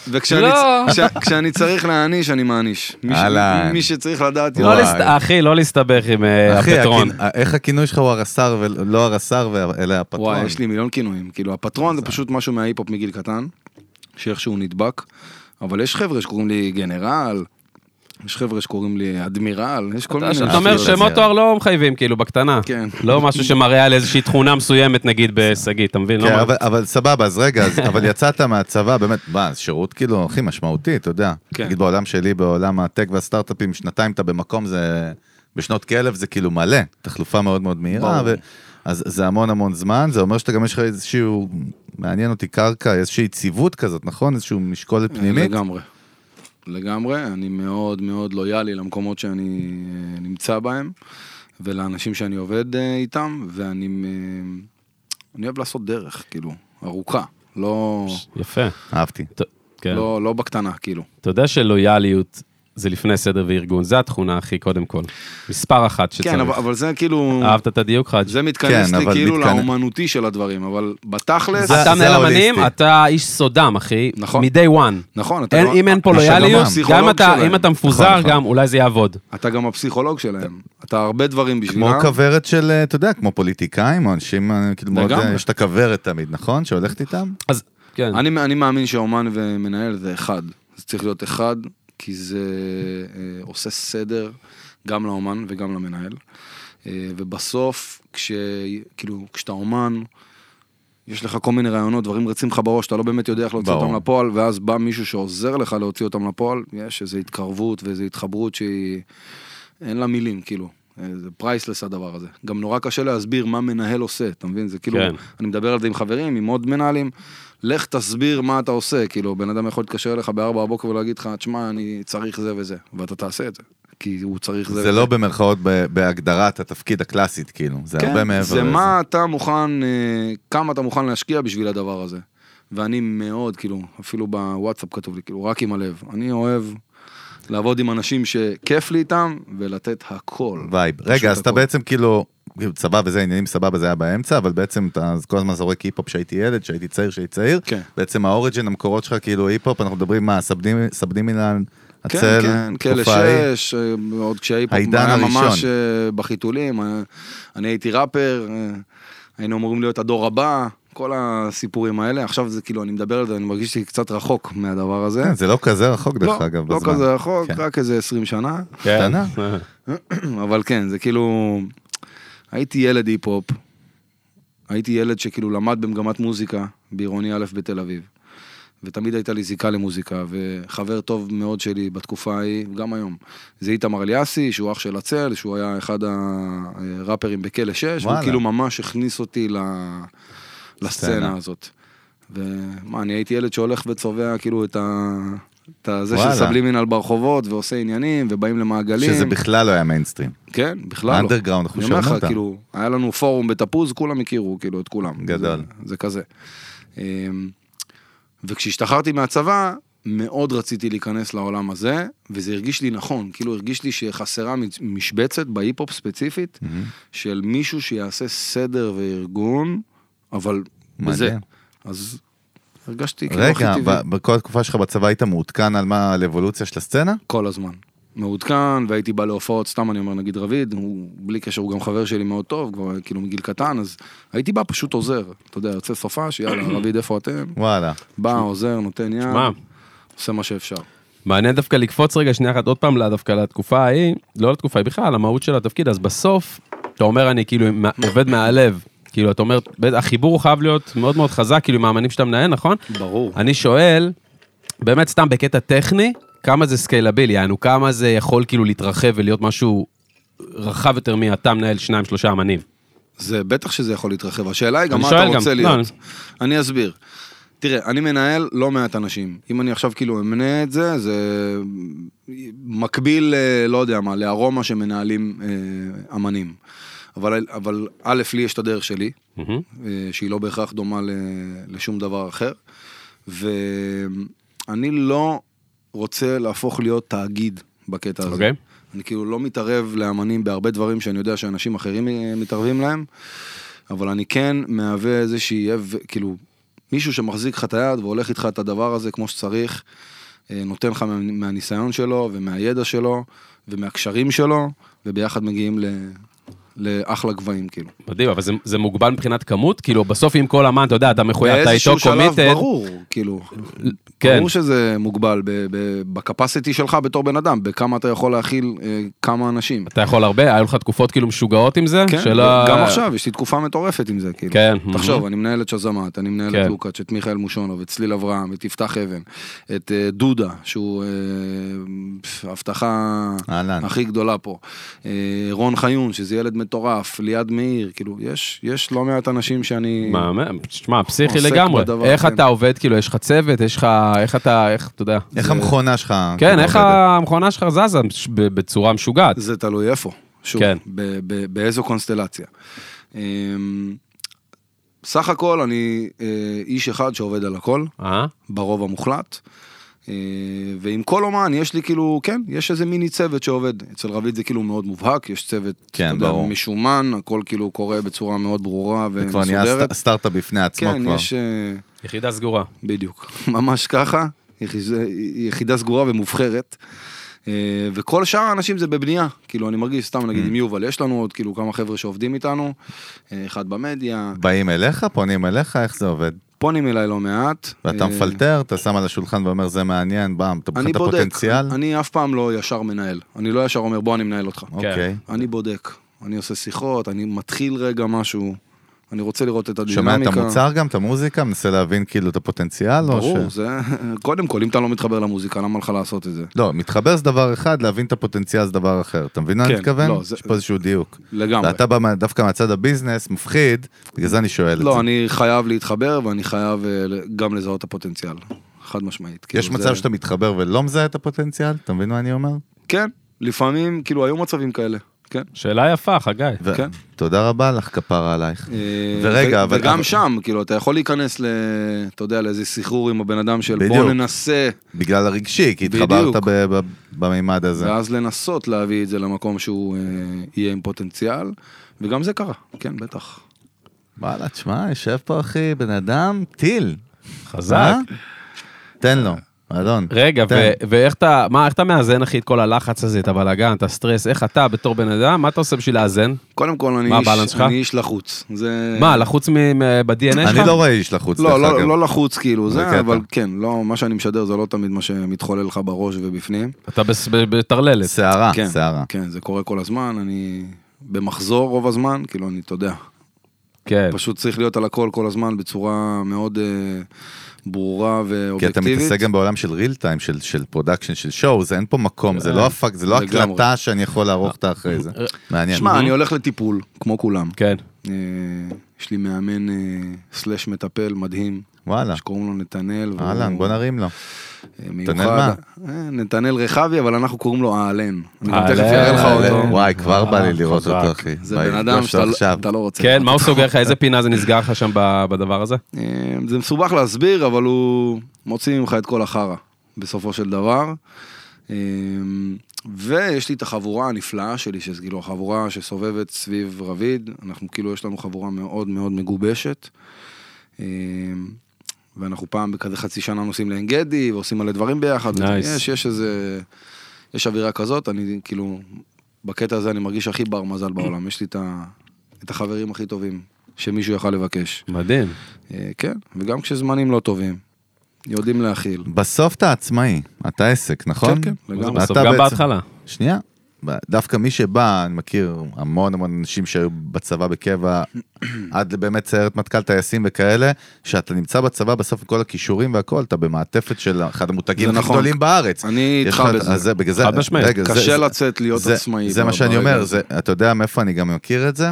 S3: וכשאני
S1: לא.
S3: כש- כשאני צריך להעניש, אני מעניש. מי ש-
S2: אהלן.
S3: מי שצריך לדעת...
S1: לא
S2: וואי.
S1: להסת- אחי, לא להסתבך עם אה,
S2: אחי,
S1: הפטרון.
S2: הכינ- איך הכינוי שלך הוא הרס"ר ולא הרס"ר אלא הפטרון?
S3: וואי, יש לי מיליון כינויים. כאילו, הפטרון זה פשוט משהו מההיפ-הופ מגיל קטן, שאיכשהו נדבק, אבל יש חבר'ה שקוראים לי גנרל, יש חבר'ה שקוראים לי אדמירל, יש כל מיני...
S1: אתה אומר
S2: אפילו
S1: שמות
S2: לזה.
S1: תואר לא מחייבים, כאילו, בקטנה.
S3: כן.
S1: לא משהו שמראה על איזושהי תכונה מסוימת, נגיד, בשגיא, אתה מבין? לא
S2: כן,
S1: מה-
S2: אבל- אבל סבבה, אז רגע, אז- אבל יצאת מהצבא, באמת, מה, זה שירות כאילו הכי משמעותי, אתה יודע.
S3: כן.
S2: נגיד בעולם שלי, בעולם הטק והסטארט-אפים, שנתיים אתה במקום, זה בשנות כלב זה כאילו מלא, תחלופה מאוד מאוד מהירה,
S3: ברור.
S2: ו... אז זה המון המון זמן, זה אומר שאתה גם יש לך איזשהו, מעניין אותי, קרקע, איזושהי יציבות כזאת, נכון? איזושהי משקולת פנימית.
S3: אה, לגמרי. לגמרי, אני מאוד מאוד לויאלי למקומות שאני אה, נמצא בהם ולאנשים שאני עובד אה, איתם, ואני אה, אני אוהב לעשות דרך, כאילו, ארוכה, לא,
S1: יפה.
S2: אהבתי.
S1: ט- כן.
S3: לא, לא בקטנה, כאילו.
S1: אתה יודע שלויאליות זה לפני סדר וארגון, זה התכונה הכי קודם כל. מספר אחת שצריך.
S3: כן, אבל, אבל זה כאילו,
S1: אהבת את הדיוק חאג'?
S3: זה מתכנס
S2: כן,
S3: לי
S2: אבל
S3: כאילו
S2: מתכנס-
S3: לאומנותי של הדברים, אבל בתכלס,
S2: זה-
S1: אתה מנהל
S2: ההוליסטי.
S1: אמנים, אתה איש סודם, אחי,
S3: נכון.
S1: מ-day one.
S3: נכון, אתה
S1: אין-
S3: גם-
S1: אם אין פה
S2: יש הדמם.
S1: לויאליות,
S3: פסיכולוג
S1: גם אתה-
S3: שלהם.
S1: אם אתה מפוזר,
S2: נכון, נכון.
S1: גם אולי זה יעבוד.
S3: אתה גם הפסיכולוג שלהם, אתה הרבה דברים בשבילם.
S2: כמו כוורת של, אה, אתה יודע, כמו פוליטיקאים, או אנשים, אה, כאילו, מאוד,
S3: לגמרי.
S2: אה, יש את הכוורת תמיד, נכון? שהולכת איתם?
S1: אז, כן.
S3: אני, אני מאמין שאומן ומנהל זה אחד. זה צריך להיות אחד, כי זה אה, עושה סדר גם לאומן וגם למנהל. אה, ובסוף, כש, כאילו, כשאתה אומן, יש לך כל מיני רעיונות, דברים רצים לך בראש, אתה לא באמת יודע איך להוציא
S2: ברור.
S3: אותם לפועל, ואז בא מישהו שעוזר לך להוציא אותם לפועל, יש איזו התקרבות ואיזו התחברות שהיא... אין לה מילים, כאילו. אה, זה פרייסלס הדבר הזה. גם נורא קשה להסביר מה מנהל עושה, אתה מבין? זה כאילו,
S1: כן.
S3: אני מדבר על זה עם חברים, עם עוד מנהלים, לך תסביר מה אתה עושה, כאילו, בן אדם יכול להתקשר אליך בארבע בבוקר ולהגיד לך, תשמע, אני צריך זה וזה, ואתה תעשה את זה, כי הוא צריך זה.
S2: זה
S3: וזה.
S2: לא במרכאות ב- בהגדרת התפקיד הקלאסית, כאילו, זה הרבה מעבר לזה.
S3: כן, זה מה אתה מוכן, אה, כמה אתה מוכן להשקיע בשביל הדבר הזה. ואני מאוד, כאילו, אפילו בוואטסאפ כתוב לי, כאילו, רק עם הלב. אני אוהב לעבוד עם אנשים שכיף לי איתם, ולתת הכל.
S2: וייב.
S3: פשוט
S2: רגע, אז אתה
S3: הכל.
S2: בעצם כאילו, כאילו, סבבה, זה עניינים סבבה, זה היה באמצע, אבל בעצם אתה אז כל הזמן זורק היפ-הופ שהייתי ילד, שהייתי צעיר, שהייתי צעיר.
S3: כן.
S2: בעצם האוריג'ין, המקורות שלך, כאילו היפ-הופ, אנחנו מדברים מה, סבדים- סבדים אילן,
S3: כן,
S2: הצל,
S3: כן, כלא
S2: תקופה ההיא.
S3: שש, אה, עוד כשהיפ-הופ
S2: העידן
S3: היה ממש
S2: הראשון.
S3: אה, בחיתולים, אה, אני הייתי ראפר, אה, היינו אמורים להיות הדור הבא, כל הסיפורים האלה, עכשיו זה כאילו, אני מדבר על זה, אני מרגיש לי קצת רחוק מהדבר הזה.
S2: כן, זה לא כזה רחוק, דרך
S3: לא,
S2: אגב,
S3: לא
S2: בזמן.
S3: כזה רחוק,
S2: כן.
S3: רק איזה 20 שנה,
S1: כן.
S2: קטנה.
S3: אבל כן, זה כאילו, הייתי ילד היפ-הופ, הייתי ילד שכאילו למד במגמת מוזיקה בעירוני א' בתל אביב. ותמיד הייתה לי זיקה למוזיקה, וחבר טוב מאוד שלי בתקופה ההיא, גם היום, זה איתמר אליאסי, שהוא אח של הצל, שהוא היה אחד הראפרים בכלא 6, והוא
S2: וואלה.
S3: כאילו ממש הכניס אותי ל... לסצנה
S2: סצנה.
S3: הזאת. ומה, אני הייתי ילד שהולך וצובע כאילו את ה... את זה של
S2: וואלה.
S3: סבלימינל ברחובות, ועושה עניינים, ובאים למעגלים.
S2: שזה בכלל לא היה מיינסטרים.
S3: כן, בכלל לא.
S2: Underground, אנחנו
S3: אני אומר
S2: שומעים
S3: לך,
S2: אותם.
S3: כאילו, היה לנו פורום בתפוז, כולם הכירו, כאילו, את כולם.
S2: גדול.
S3: זה, זה כזה. אמ, וכשהשתחררתי מהצבא, מאוד רציתי להיכנס לעולם הזה, וזה הרגיש לי נכון, כאילו הרגיש לי שחסרה מצ- משבצת בהיפ-הופ ספציפית,
S2: Mm-hmm.
S3: של מישהו שיעשה סדר וארגון, אבל בזה.
S2: מעניין.
S3: אז הרגשתי כאילו הכי
S2: רגע,
S3: טבעי.
S2: ב- בכל התקופה שלך בצבא היית מעודכן על מה, על אבולוציה של הסצנה?
S3: כל הזמן. מעודכן, והייתי בא להופעות, סתם אני אומר, נגיד רביד, הוא בלי קשר, הוא גם חבר שלי מאוד טוב, כבר כאילו מגיל קטן, אז הייתי בא פשוט עוזר. אתה יודע, יוצא סופה, שיאללה, רביד, איפה אתם?
S2: וואלה.
S3: בא, עוזר, נותן יד,
S1: שמע,
S3: עושה מה שאפשר.
S1: מעניין דווקא לקפוץ רגע שנייה אחת עוד פעם לה- דווקא לתקופה ההיא, לא לתקופה ההיא בכלל, המהות של התפקיד, אז בסוף, אתה אומר אני כאילו מה- עובד מהלב, כאילו אתה אומר, "בטח, החיבור הוא חייב להיות מאוד מאוד חזק, כאילו עם האמנים שאתה מנהל, נכון?
S3: ברור.
S1: אני שואל, באמת סתם בקטע טכני, כמה זה סקיילבילי, יענו כמה זה יכול כאילו להתרחב ולהיות משהו רחב יותר מאתה מנהל שניים שלושה אמנים.
S3: זה בטח שזה יכול להתרחב, השאלה היא גם
S1: אני
S3: מה
S1: שואל
S3: אתה
S1: גם,
S3: רוצה
S1: לא,
S3: להיות.
S1: אני-
S3: אני אסביר. תראה, אני מנהל לא מעט אנשים. אם אני עכשיו כאילו אמנה את זה, זה מקביל, אה, לא יודע מה, לארומה שמנהלים אה, אמנים. אבל, אבל א', לי יש את הדרך שלי,
S1: מהמם.
S3: אה, שהיא לא בהכרח דומה ל- לשום דבר אחר. ואני לא רוצה להפוך להיות תאגיד בקטע הזה.
S1: אוקיי.
S3: אני כאילו לא מתערב לאמנים בהרבה דברים שאני יודע שאנשים אחרים אה, מתערבים להם, אבל אני כן מהווה איזושהי, אב- כאילו, מישהו שמחזיק לך את היד והולך איתך את הדבר הזה כמו שצריך, אה, נותן לך מה- מהניסיון שלו ומהידע שלו ומהקשרים שלו, וביחד מגיעים ל... לאחלה גבהים, כאילו.
S1: מדהים, אבל זה, זה מוגבל מבחינת כמות? כאילו, בסוף עם כל אמן, אתה יודע, אתה מחויב, אתה איתו
S3: באיזשהו
S1: קומיטד.
S3: שלב ברור, כאילו.
S1: כן.
S3: ברור שזה מוגבל בקפסיטי שלך בתור בן אדם, בכמה אתה יכול להכיל אה, כמה אנשים.
S1: אתה יכול הרבה? היו לך תקופות כאילו משוגעות עם זה?
S3: כן,
S1: שלא-
S3: גם עכשיו, יש לי תקופה מטורפת עם זה, כאילו.
S1: כן.
S3: תחשוב, אני מנהל את שזמת, אני מנהל
S1: כן.
S3: את לוקאץ', את מיכאל מושונוב, את צליל אברהם, את יפתח אבן, את אה, דודה, שהוא אה, פף, הבטחה
S2: אהלן.
S3: הכי גדולה פה, אה, רון חיון, שזה ילד מטורף, ליעד מאיר, כאילו, יש- יש לא מעט אנשים שאני...
S1: מהמם, תשמע, פסיכי
S3: עוסק
S1: לגמרי.
S3: בדבר,
S1: איך
S3: כן.
S1: אתה עובד, כאילו, יש לך צוות, יש לך, איך אתה, איך, אתה יודע.
S2: איך המכונה שלך...
S1: כן,
S2: כאילו,
S1: איך
S2: עובדת?
S1: המכונה שלך זזה ש- ב- בצורה משוגעת.
S3: זה תלוי איפה, שוב,
S1: כן.
S3: כן. ב- ב- באיזו קונסטלציה. אמ, סך הכל אני אה, איש אחד שעובד על הכל,
S1: אה?
S3: ברוב המוחלט. אה, ועם כל אומן יש לי כאילו, כן, יש איזה מיני צוות שעובד. אצל רביד זה כאילו מאוד מובהק, יש צוות,
S2: כן,
S3: אתה יודע,
S2: ברור.
S3: משומן, הכל כאילו קורה בצורה מאוד ברורה
S2: זה כבר נהיה
S3: ומסודרת.
S2: סט- סטארט-אפ בפני עצמו
S3: כן,
S2: כבר.
S3: יש... אה,
S1: יחידה סגורה.
S3: בדיוק, ממש ככה, יחידה, יחידה סגורה ומובחרת. אה, וכל שאר האנשים זה בבנייה, כאילו אני מרגיש סתם
S2: Mm.
S3: נגיד עם יובל, יש לנו עוד כאילו כמה חבר'ה שעובדים איתנו, אה, אחד במדיה,
S2: באים אליך, פונים אליך, איך זה עובד?
S3: פונים אליי לא מעט.
S2: ואתה
S3: אה,
S2: מפלטר, אתה שם על השולחן ואומר, זה מעניין, באם, אתה בוחן
S3: אני
S2: את
S3: בודק,
S2: הפוטנציאל?
S3: אני אף פעם לא ישר מנהל, אני לא ישר אומר בוא אני מנהל אותך.
S2: אוקיי.
S3: אני בודק, אני עושה שיחות, אני מתחיל רגע משהו, אני רוצה לראות את הדינמיקה.
S2: שומע את המוצר גם, את המוזיקה, מנסה להבין כאילו את הפוטנציאל? או
S3: ברור,
S2: ש-
S3: זה, קודם כל אם אתה לא מתחבר למוזיקה, למה לך לעשות את זה?
S2: לא, מתחבר זה דבר אחד, להבין את הפוטנציאל זה דבר אחר. אתה מבין מה אני
S3: כן,
S2: מתכוון?
S3: לא, זה-
S2: יש פה איזשהו דיוק.
S3: לגמרי.
S2: ואתה בא מה- דווקא מהצד הביזנס, מפחיד, בגלל זה אני שואל את
S3: לא,
S2: זה.
S3: אני חייב להתחבר ואני חייב אה, ל- גם לזהות את הפוטנציאל, חד משמעית.
S2: יש
S3: כאילו,
S2: מצב
S3: זה-
S2: שאתה מתחבר ולא מזהה את הפוטנציאל? אתה מבין מה אני אומר?
S3: כן, לפעמים, כאילו, היו מצבים כאלה, כן.
S1: שאלה יפה, חגי.
S2: ו-
S3: כן.
S2: תודה רבה לך, כפרה עלייך.
S3: אה,
S2: ורגע,
S3: ו-
S2: אבל-
S3: וגם
S2: אבל-
S3: שם, כאילו, אתה יכול להיכנס ל... אתה יודע, לאיזה סחרור עם הבן אדם של
S2: בדיוק.
S3: בוא ננסה,
S2: בגלל הרגשי, כי
S3: בדיוק.
S2: התחברת ב- ב- במימד הזה.
S3: ואז לנסות להביא את זה למקום שהוא אה, יהיה עם פוטנציאל, וגם זה קרה, כן, בטח.
S2: וואלה, תשמע, יושב פה אחי, בן אדם, טיל.
S1: חזק.
S2: אה? תן לו, אדון.
S1: רגע,
S3: כן.
S1: ו-
S2: תן.
S1: ואיך אתה, מה, איך אתה מאזן, אחי, את כל הלחץ הזה, את הבלאגן, את הסטרס, איך אתה, בתור בן אדם, מה אתה עושה בשביל לאזן?
S3: קודם כל, אני
S1: מה
S3: איש-
S1: הבאלנס שלך?
S3: אני איש לחוץ. זה...
S1: מה, לחוץ ב-DNA שלך?
S2: אני לא רואה איש לחוץ,
S3: לא,
S2: דרך אגב.
S3: לא, לא לחוץ כאילו,
S2: זה
S3: זה,
S2: קטע.
S3: אבל כן, לא, מה שאני משדר זה לא תמיד מה שמתחולל לך בראש ובפנים.
S1: אתה בס- ב- בטרללת.
S2: שערה,
S3: כן,
S2: שערה.
S3: כן, זה קורה כל הזמן, אני במחזור רוב הזמן, כאילו, אני, אתה יודע,
S1: כן.
S3: פשוט צריך להיות על הכל כל הזמן בצורה מאוד אה, ברורה
S2: כי אתה
S3: ואובייקטיבית.
S2: מתעסק גם בעולם של real time, של- של פרודקשן, של שואו, זה אין פה מקום, זה לא הפק, זה לא
S3: אה, לגמרי.
S2: הקלטה שאני יכול לערוך אותה אחרי זה. מעניין.
S3: שמע, אני הולך לטיפול, כמו כולם.
S1: כן.
S3: אה, יש לי מאמן אה, סלאש מטפל מדהים,
S2: וואלה,
S3: שקוראים לו נתנאל. והוא,
S2: אהלן, בוא נרים לו.
S3: אה,
S2: נתנאל מה?
S3: מיוחד. אה, נתנאל רחבי, אבל אנחנו קוראים לו אהלן. אני גם
S1: אהלן.
S3: תכף אראה לך
S1: אהלן.
S3: אותו.
S2: וואי, כבר בא לי לראות
S1: חזק.
S2: אותו, אחי.
S3: אה, זה
S2: בא לי
S3: בן
S2: לפגוש
S3: אדם
S2: אותו
S3: שאתה
S2: עכשיו.
S3: אתה לא רוצה.
S1: כן, מה הוא סוגר לך, איזה פינה זה נסגר לך שם ב- בדבר הזה?
S3: אה, זה מסובך להסביר, אבל הוא מוציא ממך את כל החרא, בסופו של דבר. אה, ויש לי את החבורה הנפלאה שלי, שזה כאילו החבורה שסובבת סביב רביד, אנחנו כאילו, יש לנו חבורה מאוד מאוד מגובשת. אה, ואנחנו פעם בכזה חצי שנה נוסעים לעין גדי, ועושים מלא דברים ביחד.
S1: Nice.
S3: יש, יש איזה, יש אווירה כזאת, אני כאילו, בקטע הזה אני מרגיש הכי בר מזל בעולם, יש לי את, ה, את החברים הכי טובים שמישהו יכל לבקש.
S1: מדהים.
S3: אה, כן, וגם כשזמנים לא טובים, יודעים להכיל.
S2: בסוף אתה עצמאי, אתה עסק, נכון?
S3: כן,
S1: זה
S3: לגמרי.
S2: ואתה
S1: בסוף, גם
S2: בעצם-
S1: בהתחלה.
S2: שנייה. דווקא מי שבא, אני מכיר המון המון אנשים שהיו בצבא בקבע, עד באמת סיירת מטכ"ל טייסים וכאלה, שאתה נמצא בצבא בסוף עם כל הכישורים והכל, אתה במעטפת של אחד המותגים
S3: זה
S2: הכי
S3: נכון.
S2: גדולים בארץ.
S3: אני
S2: יש
S3: איתך
S2: לך-
S3: בזה.
S2: אז זה, בגלל זה,
S1: חד משמעית.
S2: רגע, זה-
S3: קשה
S2: זה-
S3: לצאת להיות
S2: זה-
S3: עצמאי.
S2: זה
S3: ב-
S2: מה שאני
S3: ברגע
S2: אומר,
S3: הזה.
S2: זה, אתה יודע מאיפה אני גם מכיר את זה?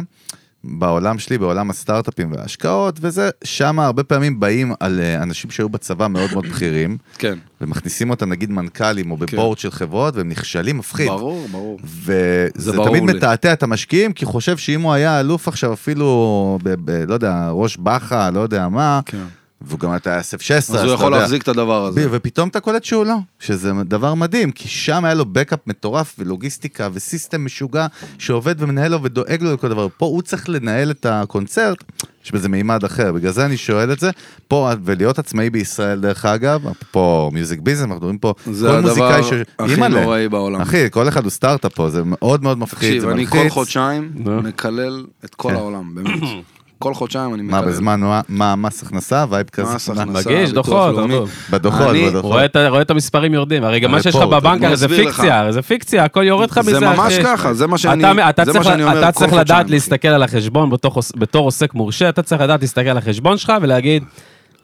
S2: בעולם שלי, בעולם הסטארט-אפים וההשקעות וזה, שם הרבה פעמים באים על אה, אנשים שהיו בצבא מאוד מאוד בכירים,
S3: כן,
S2: ומכניסים אותם נגיד מנכ"לים או בבורד של חברות, והם נכשלים מפחיד.
S3: ברור, ברור.
S2: וזה
S3: זה ברור
S2: תמיד
S3: לי.
S2: מתעתע את המשקיעים, כי חושב שאם הוא היה אלוף עכשיו אפילו, ב, ב, לא יודע, ראש באחה, לא יודע מה,
S3: כן.
S2: והוא גם היה אסף 16,
S3: אז הוא
S2: אתה
S3: יכול
S2: יודע.
S3: להחזיק את הדבר הזה.
S2: ב- ופתאום אתה קולט שהוא לא, שזה דבר מדהים, כי שם היה לו בקאפ מטורף ולוגיסטיקה וסיסטם משוגע שעובד ומנהל לו ודואג לו לכל דבר. פה הוא צריך לנהל את הקונצרט, יש בזה מימד אחר, בגלל זה אני שואל את זה. פה, ולהיות עצמאי בישראל דרך אגב, פה מיוזיק ביזנס, אנחנו מדברים פה,
S3: זה
S2: כל
S3: הדבר
S2: מוזיקאי ש...
S3: הכי
S2: אימא'לה.
S3: נוראי בעולם.
S2: אחי, כל אחד הוא סטארט-אפ פה, זה מאוד מאוד מפחיד,
S3: תקשיב,
S2: זה
S3: אני
S2: מלחיץ.
S3: כל חודשיים
S1: נו.
S3: מקלל את כל
S2: כן.
S3: העולם, באמת. כל חודשיים אני מקלל.
S2: מה, בזמן, מה- מה, מס הכנסה, וייב כזה?
S3: מס הכנסה,
S1: מגיש
S3: ביטוח
S1: דוחות,
S3: לאומי.
S1: דוחות.
S2: בדוחות,
S3: אני-
S2: בדוחות.
S1: רואה את ה- רואה את המספרים יורדים, הרי גם מה שיש לך
S2: הרפורט,
S1: בבנק
S3: אה, אני
S1: הרי זה
S3: מסביר לך.
S1: פיקציה, הרי זה פיקציה, הכל יורד לך מזה.
S3: זה ממש
S1: אחי.
S3: ככה, זה מה שאני
S1: אתה, אתה
S3: זה
S1: צריך,
S3: מה שאני אומר
S1: אתה
S3: כל
S1: צריך
S3: חודשיים,
S1: לדעת
S3: אחי.
S1: להסתכל על החשבון בתוך, בתור עוסק מורשה, אתה צריך לדעת להסתכל על החשבון שלך ולהגיד,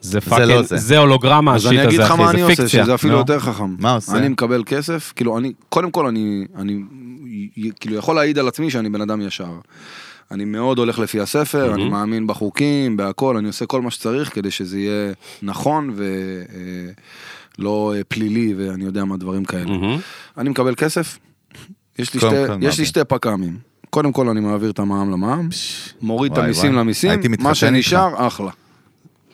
S1: זה פאקינג,
S2: לא
S1: זה.
S2: זה."
S1: הולוגרמה
S3: אז
S1: השיט
S3: אני אגיד
S1: הזה,
S3: לך מה
S1: אחי,
S3: אני
S1: זה
S3: עושה,
S1: פיקציה.
S3: שזה אפילו
S1: נו.
S3: יותר חכם.
S2: מה עושה?
S3: אני מקבל כסף, כאילו אני, קודם כל אני, אני י- כאילו יכול להעיד על עצמי שאני בן אדם ישר. אני מאוד הולך לפי הספר, אני מאמין בחוקים, בהכל, אני עושה כל מה שצריך כדי שזה יהיה נכון ולא אה, פלילי ואני יודע מה דברים כאלה.
S1: מהמם.
S3: אני מקבל כסף, יש לי
S2: קודם
S3: שתי,
S2: כל
S3: יש לי
S2: מע"מ.
S3: שתי פק"מים. קודם כל אני מעביר את המע"מ למע"מ, מוריד את
S2: וואי,
S3: המיסים
S2: וואי.
S3: למיסים,
S2: הייתי מתחתן
S3: מה
S2: איתך.
S3: שנשאר, אחלה.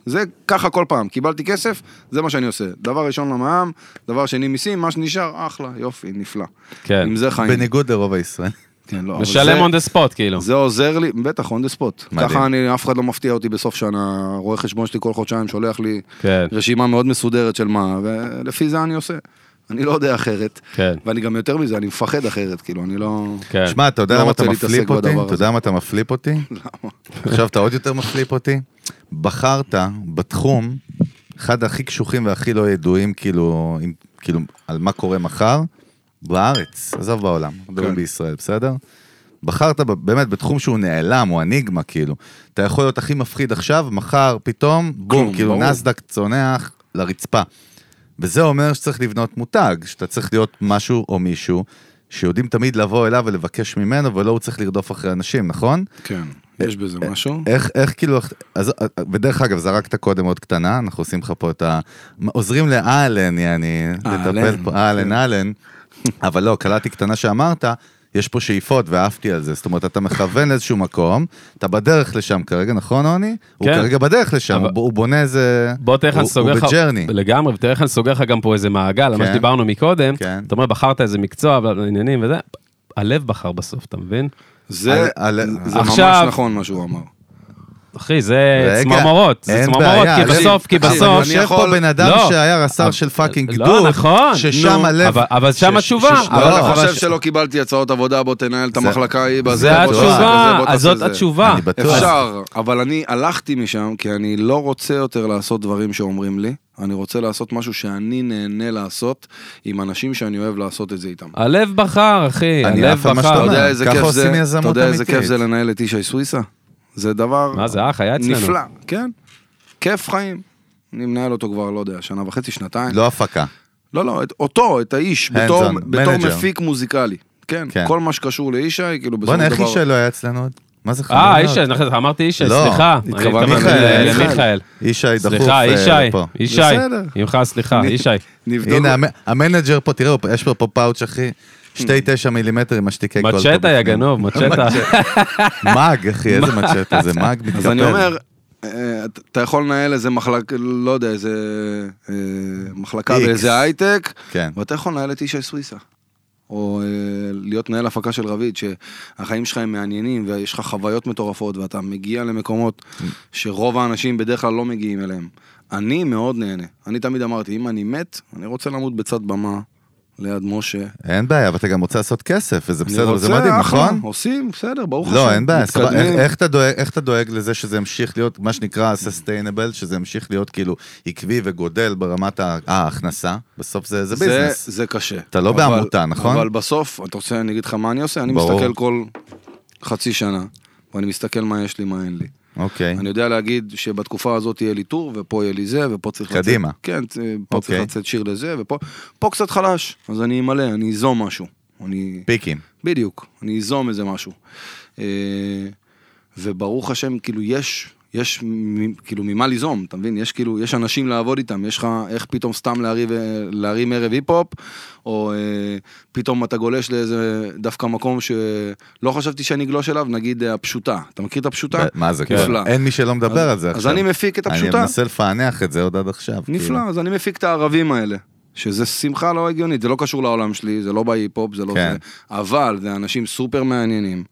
S3: זה ככה כל פעם, קיבלתי כסף, זה מה שאני עושה. דבר ראשון למע"מ, דבר שני מיסים, מה שנשאר, אחלה, יופי, נפלא.
S1: כן.
S3: עם זה חיים.
S2: בניגוד לרוב הישראל.
S3: כן, לא, אבל
S1: משלם
S3: זה-
S1: on the spot, כאילו.
S3: זה עוזר לי, בטח, on the spot.
S2: מדהים.
S3: ככה אני, אף אחד לא מפתיע אותי בסוף שנה, רואה חשבון שלי כל חודשיים שולח לי
S1: כן.
S3: רשימה מאוד מסודרת של מה, ולפי זה אני עושה. אני לא יודע אחרת.
S1: כן.
S3: ואני גם יותר מזה, אני מפחד אחרת, כאילו, אני לא...
S1: כן.
S2: שמע, אתה
S3: לא
S2: יודע למה אתה
S3: רוצה להתעסק
S2: מפליפ אותי?
S3: בדבר
S2: אתה
S3: הזה.
S2: יודע למה אתה מפליפ אותי? עכשיו אתה עוד יותר מפליפ אותי? בחרת בתחום, אחד הכי קשוחים והכי לא ידועים, כאילו, עם- כאילו, על מה קורה מחר, בארץ, עזוב בעולם, מדברים
S3: כן.
S2: בישראל, בסדר? בחרת ב- באמת בתחום שהוא נעלם, הוא אניגמה, כאילו. אתה יכול להיות הכי מפחיד עכשיו, מחר, פתאום,
S3: כלום,
S2: בום, כאילו
S3: ברור.
S2: נסדק צונח לרצפה. וזה אומר שצריך לבנות מותג, שאתה צריך להיות משהו או מישהו שיודעים תמיד לבוא אליו ולבקש ממנו, ולא הוא צריך לרדוף אחרי אנשים, נכון?
S3: כן, יש בזה משהו.
S2: איך, איך כאילו, אז, ודרך אגב, זרקת קודם עוד קטנה, אנחנו עושים לך פה את ה... עוזרים לאלן, יעני, לטפל פה, אלן, כן. אלן, אבל לא, קלטתי קטנה שאמרת, יש פה שאיפות ואהבתי על זה, זאת אומרת, אתה מכוון לאיזשהו מקום, אתה בדרך לשם כרגע, נכון, רוני? הוא
S1: כן.
S2: כרגע בדרך לשם,
S1: אבל-
S2: הוא, הוא בונה איזה...
S1: בוא תראה איך אני
S2: הוא-
S1: סוגר לך,
S2: הוא בג'רני.
S1: לגמרי, ותראה איך אני סוגר לך גם פה איזה מעגל, על מה
S2: כן.
S1: שדיברנו מקודם,
S2: כן.
S1: אתה אומר בחרת איזה מקצוע, אבל עניינים וזה, הלב בחר בסוף, אתה מבין?
S3: זה
S2: על- על-
S3: זה ממש
S1: עכשיו-
S3: נכון מה שהוא אמר.
S1: אחי, זה
S2: רגע,
S1: צמרמורות, זה
S2: אין
S1: צמרמורות,
S2: בעיה,
S1: כי
S2: תקשיב,
S1: בסוף, כי
S3: תקשיב,
S1: בסוף,
S2: יושב
S3: אני
S2: פה
S3: יכול-
S2: בן אדם
S1: לא.
S2: שהיה
S1: אבל-
S2: רס"ר של פאקינג
S1: לא,
S2: גדוד,
S1: נכון.
S2: ששם
S1: נו,
S2: הלב...
S1: אבל- אבל שם
S2: שש-
S1: התשובה,
S2: שש-
S1: אבל
S3: אבל
S2: לא,
S3: אתה
S1: אבל-
S3: חושב שלא קיבלתי הצעות עבודה, בוא תנהל את
S2: זה-
S3: המחלקה ההיא, בזה,
S1: זה
S3: בוא תעשה
S1: התשובה,
S3: זה, בוא
S1: אז
S3: תעשה
S1: זאת
S3: זה.
S1: התשובה.
S2: אני בטוח.
S3: אפשר, אבל אני הלכתי משם, כי אני לא רוצה יותר לעשות דברים שאומרים לי, אני רוצה לעשות משהו שאני נהנה לעשות עם אנשים שאני אוהב לעשות את זה איתם.
S1: הלב בחר, אחי,
S2: אני
S1: הלב
S2: עף על מה
S1: בחר.
S2: שאתה
S3: אתה יודע
S2: אומר,
S3: איזה
S2: ככה
S3: כיף
S2: עושים
S3: זה, אתה
S2: יזמות
S3: יודע איזה
S2: אמיתית.
S3: כיף זה לנהל את ישי סוויסה? זה דבר
S1: מה זה אח, היה אצלנו.
S3: נפלא, כן, כיף חיים. אני מנהל אותו כבר, לא יודע, שנה וחצי, שנתיים.
S2: לא הפקה.
S3: לא, לא, את אותו, את האיש,
S2: Hands
S3: בתור,
S2: on,
S3: בתור
S2: manager.
S3: מפיק מוזיקלי. כן,
S2: כן.
S3: כל מה שקשור לישי, כאילו בסופו של
S2: בואנה,
S3: דבר...
S2: איך איש לא היה אצלנו עוד? מה זה חמור
S1: אה,
S2: מאוד?
S1: אישי, נכון, אמרתי אישי,
S2: לא,
S1: סליחה. אני
S3: התכוונתי
S1: תמיד-
S2: מיכאל,
S1: אה,
S2: מיכאל.
S1: מיכאל.
S2: ישי דחוף
S1: סליחה,
S2: אה,
S1: אישי,
S2: לפה.
S1: אישי,
S3: בסדר.
S1: ממך סליחה, אישי.
S3: נבדוק.
S2: הנה, המ- המנג'ר פה, תראו, יש פה פה פאוץ' אחי,
S3: Hmm.
S2: שתי תשע מילימטר עם משתיקי קול. פה
S1: מצ'טה, יא
S2: בפנים.
S1: גנוב, מצ'טה.
S2: מאג, אחי, איזה מצ'טה, זה מאג כן, מתקפל.
S3: אז אני אומר, אה, אתה- אתה יכול לנהל איזה מחלק, לא יודע, איזה אה, מחלקה
S2: X.
S3: באיזה הייטק,
S2: כן.
S3: ואתה יכול לנהל את ישי סוויסה. או אה, להיות מנהל הפקה של רביד, שהחיים שלך הם מעניינים, ויש לך חוויות מטורפות, ואתה מגיע למקומות שרוב האנשים בדרך כלל לא מגיעים אליהם. אני מאוד נהנה. אני תמיד אמרתי, אם אני מת, אני רוצה למות בצד במה, ליד משה.
S2: אין בעיה, ואתה גם רוצה לעשות כסף, וזה
S3: אני
S2: בסדר,
S3: רוצה,
S2: זה מדהים,
S3: אחלה,
S2: נכון?
S3: עושים, בסדר, ברוך השם.
S2: לא, אין בעיה, סבבה.
S3: מתקדמים.
S2: איך- איך אתה דואג- איך אתה דואג לזה שזה ימשיך להיות, מה שנקרא sustainable, שזה ימשיך להיות כאילו עקבי וגודל ברמת ה- אה, ההכנסה? בסוף זה זה
S3: זה-
S2: ביזנס.
S3: זה קשה.
S2: אתה לא
S3: אבל-
S2: בעמותה, נכון?
S3: אבל בסוף, אתה רוצה, אני אגיד לך מה אני עושה? אני
S2: ברור.
S3: מסתכל כל חצי שנה, ואני מסתכל מה יש לי, מה אין לי.
S2: אוקיי.
S3: אני יודע להגיד שבתקופה הזאת יהיה לי טור, ופה יהיה לי זה, ופה צריך
S2: קדימה.
S3: לצאת... קדימה. כן, צ- פה צריך
S2: אוקיי.
S3: לצאת שיר לזה, ופה... פה קצת חלש, אז אני אמלא, אני איזום משהו. אני...
S2: פיקים.
S3: בדיוק, אני איזום איזה משהו. אה, וברוך השם, כאילו יש יש מ- כאילו ממה ליזום, אתה מבין? יש כאילו, יש אנשים לעבוד איתם, יש לך איך פתאום סתם להרים, להרים ערב היפ-הופ, או אה, פתאום אתה גולש לאיזה דווקא מקום שלא חשבתי שאני אגלוש אליו, נגיד אה, הפשוטה. אתה מכיר את הפשוטה?
S2: מה זה,
S1: כן.
S2: כאילו, אין מי שלא מדבר
S3: אז-
S2: על זה
S3: אז
S2: עכשיו.
S3: אני מפיק את הפשוטה.
S2: אני מנסה לפענח את זה עוד עד עכשיו. כאילו.
S3: נפלא, אז אני מפיק את הערבים האלה. שזה שמחה לא הגיונית, זה לא קשור לעולם שלי, זה לא בהיפ-הופ, זה לא
S2: כן.
S3: זה. אבל זה אנשים סופר מעניינים,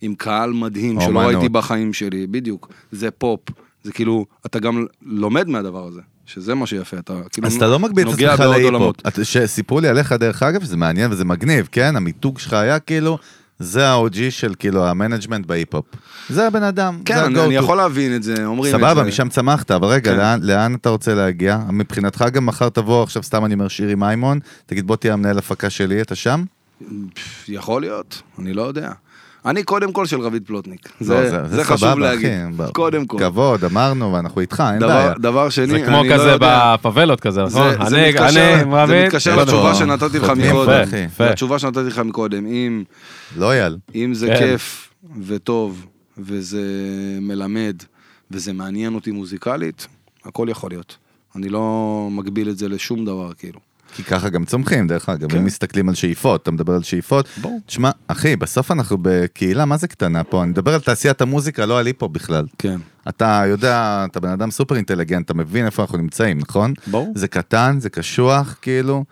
S3: עם קהל מדהים שלא
S2: אומנות.
S3: ראיתי בחיים שלי, בדיוק. זה פופ, זה כאילו, אתה גם לומד מהדבר הזה, שזה מה שיפה, אתה כאילו
S2: אז אתה לא מגביל את
S3: נוגע
S2: עצמך
S3: בעוד
S2: להיפ-הופ.
S3: עולמות.
S2: את- שסיפרו לי עליך דרך אגב, שזה מעניין וזה מגניב, כן? המיתוג שלך היה כאילו, זה ה-OG של כאילו המנג'מנט בהיפ-הופ. זה הבן אדם,
S3: כן,
S2: זה
S3: אני,
S2: ה-go-to.
S3: אני יכול להבין את זה, אומרים את זה.
S2: סבבה, משם צמחת, אבל רגע,
S3: כן.
S2: לאן- לאן אתה רוצה להגיע? מבחינתך גם מחר תבוא, עכשיו סתם אני אומר שירי מימון, תגיד בוא תהיה המנהל הפקה שלי, אתה שם?
S3: פפ, יכול להיות, אני לא יודע. אני קודם כל של רביד פלוטניק,
S2: לא,
S3: זה, זה, חשוב
S2: סבבה,
S3: להגיד,
S2: אחי, ב-
S3: קודם כל.
S2: כבוד, אמרנו, ואנחנו איתך, אין
S3: דבר,
S2: בעיה.
S3: דבר שני,
S1: זה כמו
S3: אני לא
S1: כזה
S3: יודע...
S1: בפאבלות כזה,
S3: זה-
S1: נכון?
S3: זה
S1: אני-
S3: מתקשר-
S1: אני,
S3: זה
S1: רביד,
S3: מתקשר
S1: לא
S3: לתשובה
S1: נורא.
S3: שנתתי לך
S2: חותמים,
S3: מקודם.
S2: אחי.
S1: יפה.
S3: לתשובה שנתתי לך מקודם, אם,
S2: לא אייל.
S3: אם זה
S1: כן.
S3: כיף וטוב וזה מלמד וזה מעניין אותי מוזיקלית, הכל יכול להיות. אני לא מגביל את זה לשום דבר, כאילו.
S2: כי ככה גם צומחים, דרך אגב,
S3: כן.
S2: אם מסתכלים על שאיפות, אתה מדבר על שאיפות.
S3: ברור.
S2: תשמע, אחי, בסוף אנחנו בקהילה, מה זה קטנה פה? אני מדבר על תעשיית המוזיקה, לא על היפו בכלל.
S3: כן.
S2: אתה יודע, אתה בן אדם סופר אינטליגנט, אתה מבין איפה אנחנו נמצאים, נכון?
S3: ברור.
S2: זה קטן, זה קשוח, כאילו.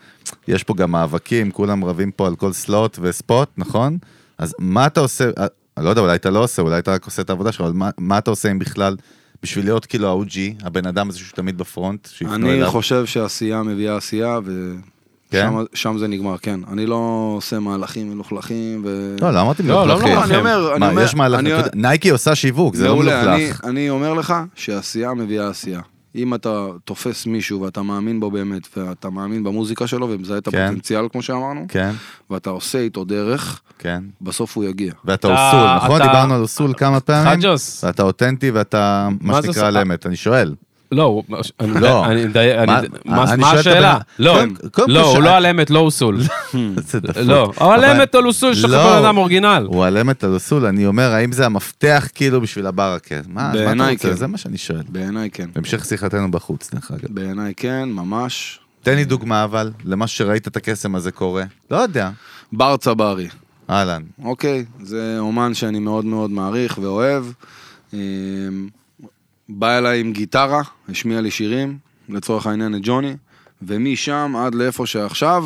S2: יש פה גם מאבקים, כולם רבים פה על כל סלוט וספוט, נכון? אז מה אתה עושה, אה, אני לא יודע, אולי אתה לא עושה, אולי אתה רק עושה את העבודה שלך, אבל מה, מה אתה עושה אם בכלל, בשביל להיות כאילו ה-OG, הבן אדם הזה שהוא תמיד בפרונט, שיפנו
S3: אני
S2: אליו?
S3: חושב שעשייה מביאה עשייה, ו...
S2: כן?
S3: שם- שם זה נגמר, כן. אני לא עושה מהלכים מלוכלכים ו...
S2: לא, לא אמרתי
S1: לא, לא,
S2: מלוכלכים.
S1: לא, אני
S3: אומר, אני
S2: מה,
S3: אומר-
S2: יש מהלך,
S3: אני-
S2: אתה יודע, נייקי עושה שיווק, זה לא
S3: מעולה, אני,
S2: מלוכלך.
S3: אני אומר לך שעשייה מביאה עשייה. אם אתה תופס מישהו ואתה מאמין בו באמת, ואתה מאמין במוזיקה שלו ומזהה את
S2: כן.
S3: הפוטנציאל, כמו שאמרנו,
S2: כן,
S3: ואתה עושה איתו דרך,
S2: כן.
S3: בסוף הוא יגיע.
S2: ואתה
S1: אתה-
S2: אוסול, נכון?
S1: אתה-
S2: דיברנו על אוסול כמה פעמים.
S1: חג'וס.
S2: ואתה אותנטי ואתה, מה
S1: מה זה
S2: שנקרא, על
S1: עושה?
S2: אמת, אני שואל.
S1: לא, הוא- אני-
S2: לא.
S1: אני מדייק, אני-
S2: מה-
S1: מה
S2: אני
S1: מה
S2: שואל את
S1: השאלה?
S2: הבן-
S1: לא,
S2: קודם- קודם כל
S1: לא, הוא
S2: שאל-
S1: לא על אמת, לא אוסול.
S2: זה דפוק.
S1: לא, אבל אמת על אוסול, יש לך
S2: לא.
S1: בן אדם אורגינל.
S2: הוא על אמת על אוסול, אני אומר, האם זה המפתח כאילו בשביל הברקה? מה, מה אתה
S3: בעיניי
S2: רוצה?
S3: כן.
S2: זה מה שאני שואל.
S3: בעיניי כן.
S2: המשך שיחתנו בחוץ, דרך אגב.
S3: בעיניי כן, ממש.
S2: תן לי דוגמה אבל, למה שראית את הקסם הזה קורה. לא יודע.
S3: בר צברי,
S2: אהלן.
S3: אוקיי, זה אומן שאני מאוד מאוד מעריך ואוהב. אה, בא אליי עם גיטרה, השמיע לי שירים, לצורך העניין את ג'וני, ומשם עד לאיפה שעכשיו,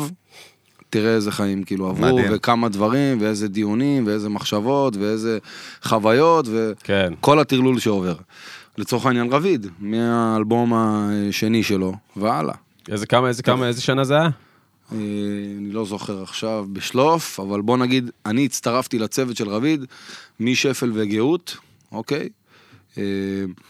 S3: תראה איזה חיים כאילו עברו,
S2: מדהים.
S3: וכמה דברים, ואיזה דיונים, ואיזה מחשבות, ואיזה חוויות, ו...
S1: כן.
S3: כל הטרלול שעובר. לצורך העניין רביד, מהאלבום השני שלו, והלאה.
S1: איזה כמה, איזה כמה, איזה שנה זה היה?
S3: אה, אני לא זוכר עכשיו בשלוף, אבל בוא נגיד, אני הצטרפתי לצוות של רביד משפל וגאות, אוקיי? אה,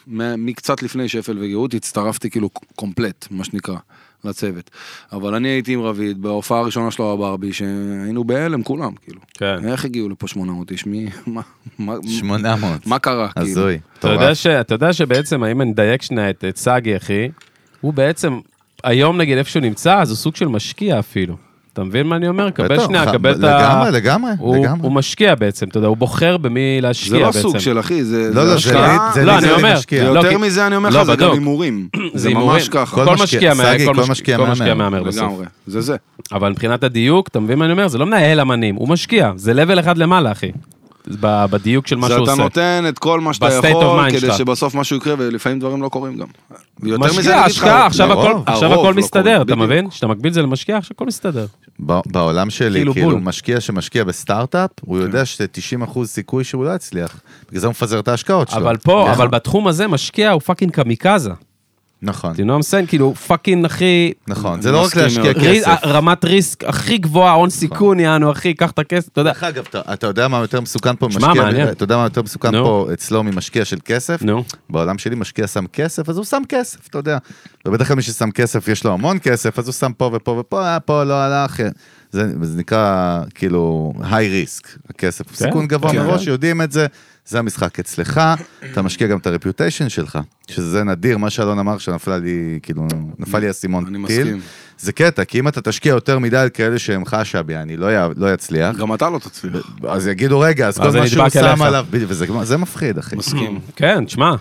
S3: מ- מקצת לפני שפל וגאות הצטרפתי כאילו קומפלט, מה שנקרא, לצוות. אבל אני הייתי עם רביד בהופעה הראשונה שלו בברבי, שהיינו בהלם כולם, כאילו.
S1: כן.
S3: איך הגיעו לפה 800 איש? מי... מה- מה-
S2: 800.
S3: מה קרה? כאילו?
S2: הזוי.
S1: אתה
S2: מטורף.
S1: יודע, ש, אתה יודע שבעצם, האם אני אדייק שנייה את, את סאגי, אחי, הוא בעצם, היום נגיד איפה שהוא נמצא, אז הוא סוג של משקיע אפילו. אתה מבין מה אני אומר? קבל
S2: בטח,
S1: שנייה,
S2: ח-
S1: קבל את ה...
S2: לגמרי, לגמרי,
S1: הוא,
S2: לגמרי.
S1: הוא משקיע בעצם, אתה יודע, הוא בוחר במי להשקיע
S3: זה לא
S1: בעצם.
S3: סוג של אחי, זה
S2: לא, לא, זה
S3: השקעה.
S2: ליד- זה
S1: לא,
S2: ליד
S1: אני
S2: זה
S1: אומר,
S2: משקיע.
S1: לא,
S3: ויותר
S1: כי-
S3: מזה אני אומר
S1: לא,
S3: לך, זה גם
S1: בדוק.
S3: הימורים.
S1: זה
S3: זה ממש
S1: הימורים.
S3: ככה.
S1: כל
S2: משקיע-
S1: משקיע, מה-
S2: סגי,
S1: כל
S2: כל
S1: מש-
S2: משקיע
S1: כל משקיע
S2: מהמר.
S1: מהמר בסוף.
S3: לגמרי, זה זה.
S1: אבל מבחינת הדיוק, אתה מבין מה אני אומר? זה לא מנהל אמנים, הוא משקיע, זה level אחד למעלה, אחי. ב- בדיוק של מה שהוא
S3: שאתה
S1: עושה.
S3: נותן את כל מה שאתה
S1: ב-state of
S3: יכול,
S1: mind
S3: כדי
S1: שלך.
S3: שבסוף משהו יקרה, ולפעמים דברים לא קורים גם. ויותר מזה, אני
S1: משקיע,
S3: אגיד לך,
S1: השקעה, עכשיו
S2: לרוב,
S1: הכל- עכשיו
S3: הרוב
S1: הכל
S3: לא קורה,
S1: מסתדר, אתה
S3: בדיוק.
S1: מבין? כשאתה מקביל את זה למשקיע, עכשיו הכל מסתדר.
S2: ב- בעולם שלי,
S1: כאילו
S2: כאילו,
S1: בול. כן.
S2: משקיע שמשקיע בסטארט-אפ, הוא יודע ש-90% סיכוי שהוא לא יצליח. בגלל זה הוא מפזר את ההשקעות שלו.
S1: אבל פה,
S2: נכון.
S1: אבל בתחום הזה, משקיע הוא פאקינג קמיקזה.
S2: נכון,
S1: אתה יודע מה I'm saying? כאילו, פאקינג הכי...
S2: נכון,
S3: אני
S2: זה לא רק
S3: מסכים
S2: להשקיע
S3: מאוד.
S1: רי-
S2: כסף. נכון.
S1: רמת ריסק הכי גבוהה, הון סיכון, יענו, אחי, קח את הכסף, אתה יודע.
S2: דרך אגב, אתה- אתה יודע מה יותר מסוכן פה
S1: שמע,
S2: ממשקיע,
S1: מעניין.
S2: אתה יודע מה יותר מסוכן
S1: נו.
S2: פה אצלו ממשקיע של כסף?
S1: נו.
S2: בעולם שלי משקיע שם כסף, אז הוא שם כסף, אתה יודע. ובדרך כלל מי ששם כסף, יש לו המון כסף, אז הוא שם פה ופה ופה, אה, פה לא הלך. זה זה נקרא, כאילו, היי ריסק, הכסף. הוא
S1: כן,
S2: סיכון גבוה
S3: כן.
S2: מראש, יודעים את זה, זה המשחק אצלך, אתה משקיע גם את הרפיוטיישן שלך, שזה נדיר, מה שאלון אמר, שנפל לי, כאילו, נפל לי האסימון
S3: אני
S2: טיל.
S3: מסכים.
S2: זה קטע, כי אם אתה תשקיע יותר מדי על כאלה שהם חשבי, אני לא י- לא יצליח.
S3: גם אתה לא תצליח.
S2: אז יגידו רגע, אז
S1: אז
S2: כל
S1: זה
S2: מה שהוא
S1: נדבק
S2: שם
S1: אליך.
S2: עליו, בדיוק, וזה זה מפחיד אחי.
S3: מסכים.
S1: כן, תשמע,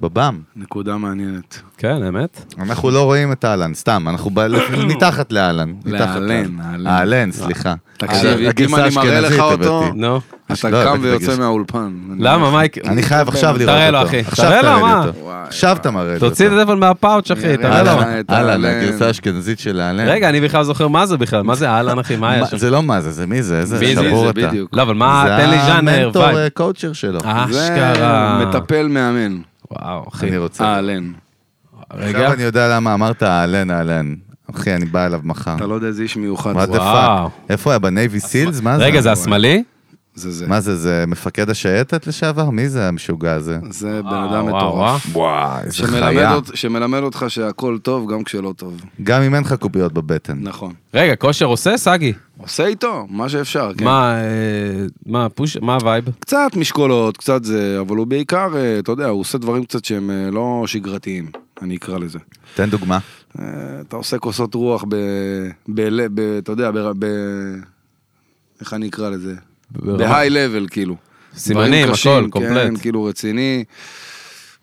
S2: בבם.
S3: נקודה מעניינת.
S1: כן, אמת?
S2: אנחנו לא רואים את אהלן, סתם, אנחנו ב... מתחת לאהלן. מתחת
S3: לאהלן,
S2: לאהלן.
S3: האהלן.
S2: אהלן, סליחה.
S3: תקשיב,
S2: הגרסה
S3: אם אני מראה לך
S2: האשכנזית
S3: אותו,
S2: הבאתי.
S1: נו.
S3: אתה
S2: לא,
S3: קם
S2: הבאתי את
S3: ויוצא
S2: הגרסה.
S3: מהאולפן.
S1: למה, מייק?
S2: אני חייב עכשיו לראות אותו.
S1: תראה לו, אחי.
S2: עכשיו
S1: תראה לו,
S2: לי
S1: מה?
S2: אותו.
S3: וואי,
S2: עכשיו אתה מראה לי אותו.
S1: תוציא את הטלפון מהפאוץ', אחי, תראה לו.
S3: יאללה.
S2: אהלן,
S3: את
S2: אהלן,
S3: אהלן.
S2: הגרסה האשכנזית של אהלן.
S1: רגע, אני בכלל זוכר מה זה בכלל, מה זה אהלן, אחי, מה היה
S2: מה-
S1: שם?
S2: זה לא מה זה, זה מי זה, איזה
S1: מי זה,
S2: שבור
S3: זה
S2: אתה.
S3: בדיוק.
S1: לא, אבל מה, תן לי ז'אנר,
S2: זה המנטור
S1: וייב.
S2: אה, קואוצ'ר שלו.
S3: זה
S1: אשכרה.
S3: מטפל מאמן. אה,
S1: וואו, אחי.
S2: אני רוצה.
S3: אהלן.
S1: רגע.
S2: עכשיו אני יודע למה אמרת אהלן, אהלן. אחי, אני בא אליו מחר.
S3: אתה לא יודע איזה איש מיוחד
S2: מה
S3: זה.
S2: זה
S1: וואו.
S2: פאק? איפה היה? בנייבי סילס? מה זה?
S1: רגע, זה השמאלי?
S3: זה זה.
S2: מה זה, זה מפקד השייטת לשעבר? מי זה המשוגע הזה?
S3: זה בן
S1: וואו,
S3: אדם
S1: וואו,
S3: מטורף.
S2: וואי, איזה
S3: שמלמד
S2: חיה.
S3: אות- שמלמד אותך שהכל טוב גם כשלא טוב.
S2: גם אם אין לך קוביות בבטן.
S3: נכון.
S1: רגע, כושר עושה, סגי?
S3: עושה איתו מה שאפשר, כן.
S1: מה, אה, מה, פוש, מה הווייב?
S3: קצת משקולות, קצת זה, אבל הוא בעיקר, אה, אתה יודע, הוא עושה דברים קצת שהם אה, לא שגרתיים, אני אקרא לזה.
S2: תן דוגמה.
S3: אה, אתה עושה כוסות רוח ב... ב... ב... אתה יודע, ב... ב... איך אני אקרא לזה? בהיי לבל, כאילו.
S1: סימנים,
S3: דברים
S1: הכל,
S3: קשים, כן,
S1: קומפלט.
S3: כאילו רציני.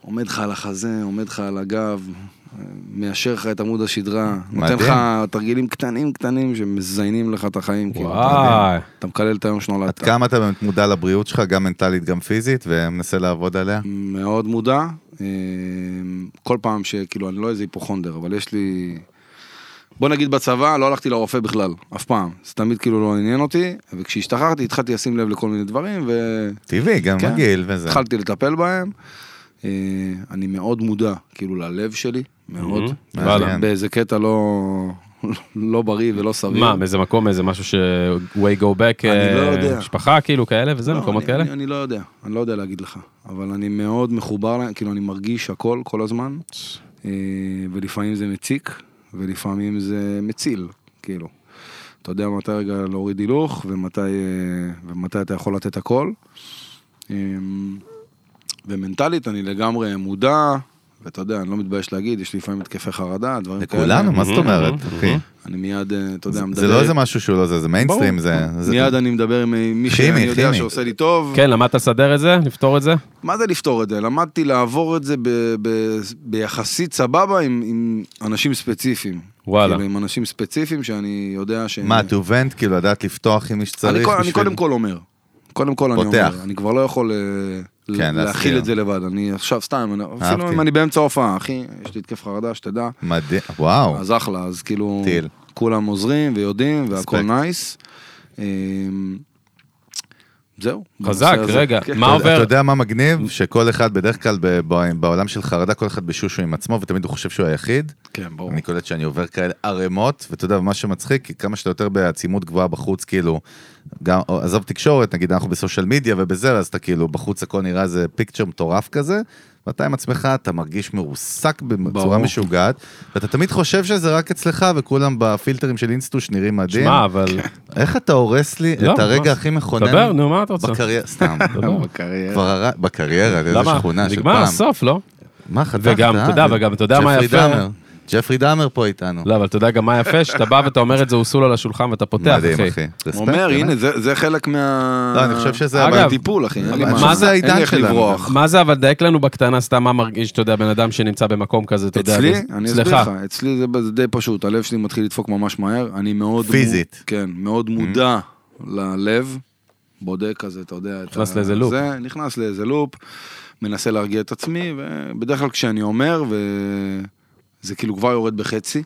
S3: עומד לך על החזה, עומד לך על הגב, אה, מיישר לך את עמוד השדרה. נותן לך תרגילים קטנים קטנים שמזיינים לך את החיים, כאילו. אתה יודע.
S1: וואי.
S3: אתה מקלל את היום
S2: עד
S3: שנולדת.
S2: כמה אתה באמת מודע לבריאות שלך, גם מנטלית, גם פיזית, ומנסה לעבוד עליה?
S3: מאוד מודע. אה, כל פעם שכאילו, אני לא איזה היפוכונדר, אבל יש לי... בוא נגיד בצבא, לא הלכתי לרופא בכלל, אף פעם. זה תמיד כאילו לא עניין אותי, וכשהשתחררתי התחלתי לשים לב לכל מיני דברים,
S2: טבעי, גם
S3: כן.
S2: מגעיל וזה.
S3: והתחלתי לטפל בהם. אה, אני מאוד מודע, כאילו, ללב שלי, מאוד.
S1: Mhm,
S3: ואז
S2: וואלה.
S3: באיזה קטע לא... לא בריא ולא סביר.
S1: מה, מאיזה מקום, איזה משהו ש... way go back,
S3: אני לא
S1: אה,
S3: יודע.
S1: משפחה כאילו כאלה וזה,
S3: לא,
S1: מקומות
S3: אני,
S1: כאלה?
S3: אני, אני לא יודע, אני לא יודע להגיד לך, אבל אני מאוד מחובר, ל- כאילו אני מרגיש הכל כל הזמן, אה, ולפעמים זה מציק, ולפעמים זה מציל, כאילו. אתה יודע מתי רגע להוריד הילוך, ומתי, אה, ומתי אתה יכול לתת הכל. אה, ומנטלית אני לגמרי מודע, ואתה יודע, אני לא מתבייש להגיד, יש לי לפעמים התקפי חרדה, דברים כאלה.
S2: לכולנו, מה זאת אומרת? אחי?
S3: אני מיד, אה, אוקיי. אתה יודע, מדבר...
S2: זה לא איזה משהו שהוא לא זה, זה מיינסטרים, זה... זה-
S3: מיד אני מדבר עם מי
S2: כימי,
S3: שאני יודע
S2: כימי.
S3: שעושה לי טוב.
S1: כן, למדת לסדר את זה? לפתור את זה?
S3: מה זה לפתור את זה? למדתי לעבור את זה ב, ב, ביחסית סבבה עם, עם אנשים ספציפיים.
S1: וואלה.
S3: כאילו, עם אנשים ספציפיים שאני יודע ש...
S2: מה, to vent, כאילו, לדעת לפתוח עם מי
S3: אני,
S2: שצריך
S3: כל- אני
S2: בשביל-
S3: קודם כל אומר. קודם כל אני
S2: פותח.
S3: אומר. אני כבר לא יכול אה, ל-
S2: כן, להסתיר.
S3: להכיל את זה לבד. אני עכשיו סתם, אני, אפילו
S2: אהבתי.
S3: אם אני באמצע הופעה, אחי, יש לי התקף חרדה, שתדע.
S2: מדהים, וואו.
S3: אז אחלה, אז כאילו,
S2: טיל.
S3: כולם עוזרים ויודעים והכל
S2: אספקט.
S3: נייס. אה, זהו.
S1: חזק,
S3: בנושא הזה.
S1: רגע,
S3: כן.
S1: מה
S2: אתה-
S1: עובר?
S2: אתה יודע מה מגניב? שכל אחד, בדרך כלל ב- ב- בעולם של חרדה, כל אחד בשושו עם עצמו, ותמיד הוא חושב שהוא היחיד.
S3: כן, ברור.
S2: אני קולט שאני עובר כאלה ערימות, ואתה יודע, מה שמצחיק, כי כמה שאתה יותר בעצימות גבוהה בחוץ, כאילו, גם, או- עזוב תקשורת, נגיד אנחנו בסושיאל מדיה ובזה, אז אתה כאילו, בחוץ הכל נראה איזה פיקצ'ר מטורף כזה, ואתה עם עצמך, אתה מרגיש מרוסק בצורה
S3: ברור.
S2: משוגעת, ואתה תמיד חושב שזה רק אצלך, וכולם בפילטרים של אינסטוש נראים מדהים.
S1: שמע, אבל...
S3: כן.
S2: איך אתה הורס לי
S1: לא,
S2: את הרגע
S1: מה?
S2: הכי מכונן
S1: דבר, נו, מה אתה רוצה?
S2: בקריירה, סתם.
S1: דבר.
S3: בקריירה.
S2: כבר הר- בקריירה, זה איזה
S1: למה?
S2: שכונה של פעם.
S1: נגמר הסוף, לא?
S3: אוקיי.
S2: מה חתכת?
S1: וגם,
S2: אה?
S1: אתה יודע, וגם, אתה יודע מה
S2: ג'פרי
S1: יפה?
S2: דאמר. ג'פרי דאמר פה איתנו.
S1: לא, אבל אתה יודע גם מה יפה, שאתה בא ואתה אומר את זה, הוא סול על השולחן ואתה פותח,
S2: מדהים,
S1: אחי.
S2: אחי. רספקט,
S3: הוא אומר,
S2: באמת.
S3: הנה, זה זה חלק מה...
S2: לא, אני חושב שזה...
S1: אגב,
S2: אבל-
S3: טיפול, אחי. אין לי
S2: אבל
S1: מה-
S2: אני חושב
S1: מה
S2: שזה
S1: זה-
S3: אין לי
S2: העידן
S3: איך
S2: שלנו.
S3: לברוח.
S1: מה זה, אבל דייק לנו בקטנה סתם מה מרגיש, אתה יודע, בן אדם שנמצא במקום כזה, אתה יודע.
S3: אצלי,
S1: זה-
S3: אני אסביר
S1: אצלך.
S3: לך, אצלי זה- זה די פשוט, הלב שלי מתחיל לדפוק ממש מהר, אני מאוד...
S2: פיזית.
S3: מ- כן, מאוד מודע ללב, בודק כזה, אתה יודע, את
S1: נכנס
S3: ה-
S1: לאיזה לופ.
S3: זה, נכנס לאיזה לופ, מנסה להרגיע את עצמי, ובדרך כלל כשאני אומר, וזה כאילו כבר יורד בחצי.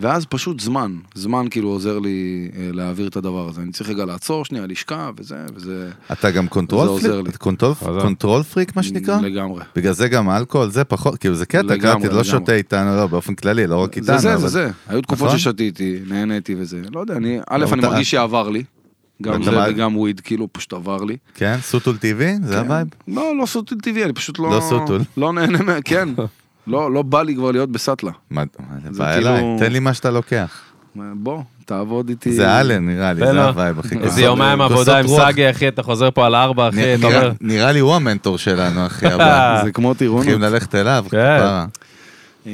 S3: ואז פשוט זמן, זמן כאילו עוזר לי אה, להעביר את הדבר הזה. אני צריך רגע לעצור שנייה, לשכב וזה, וזה...
S2: אתה גם
S3: זה
S2: קונטרול
S3: עוזר
S2: פריק?
S3: לי.
S2: קונטרול-
S1: עזר.
S2: קונטרול פריק, מה שנקרא?
S3: לגמרי.
S2: בגלל זה גם האלכוהול זה פחות, כאילו זה קטע,
S3: לגמרי,
S2: קראתי, לא
S3: לגמרי.
S2: שותה איתנו, לא, באופן כללי, לא רק איתנו.
S3: זה זה, זה
S2: אבל-
S3: זה. היו תקופות
S2: נכון?
S3: ששתיתי, נהניתי וזה. לא יודע, אני, א',
S2: לא,
S3: אני
S2: אתה-
S3: מרגיש שעבר לי. גם
S2: אתה
S3: זה
S2: מה-
S3: וגם וויד, כאילו, פשוט עבר לי.
S2: כן, סוטול טבעי? זה
S3: כן.
S2: הווייב?
S3: לא, לא סוטול טבעי, אני פשוט לא...
S2: לא סוטול.
S3: לא נהנה מה... כן. לא, לא בא לי כבר להיות בסאטלה.
S2: מה, מה, זה
S3: זה
S2: בא
S3: כאילו-
S2: אליי, תן לי מה שאתה לוקח.
S3: בוא, תעבוד איתי.
S2: זה אלן נראה לי,
S1: תן
S2: זה
S1: לו.
S2: הווייב הכי
S1: איזה יומיים
S2: כוסות
S1: עבודה עם
S2: רוח.
S1: סאגי, אחי, אתה חוזר פה על ארבע, אחי, אתה
S2: נראה-
S1: אומר...
S2: נראה לי הוא המנטור שלנו, אחי, הבא.
S3: זה כמו טירונות.
S2: צריכים ללכת אליו,
S1: כן.
S2: כפרה.
S3: אה,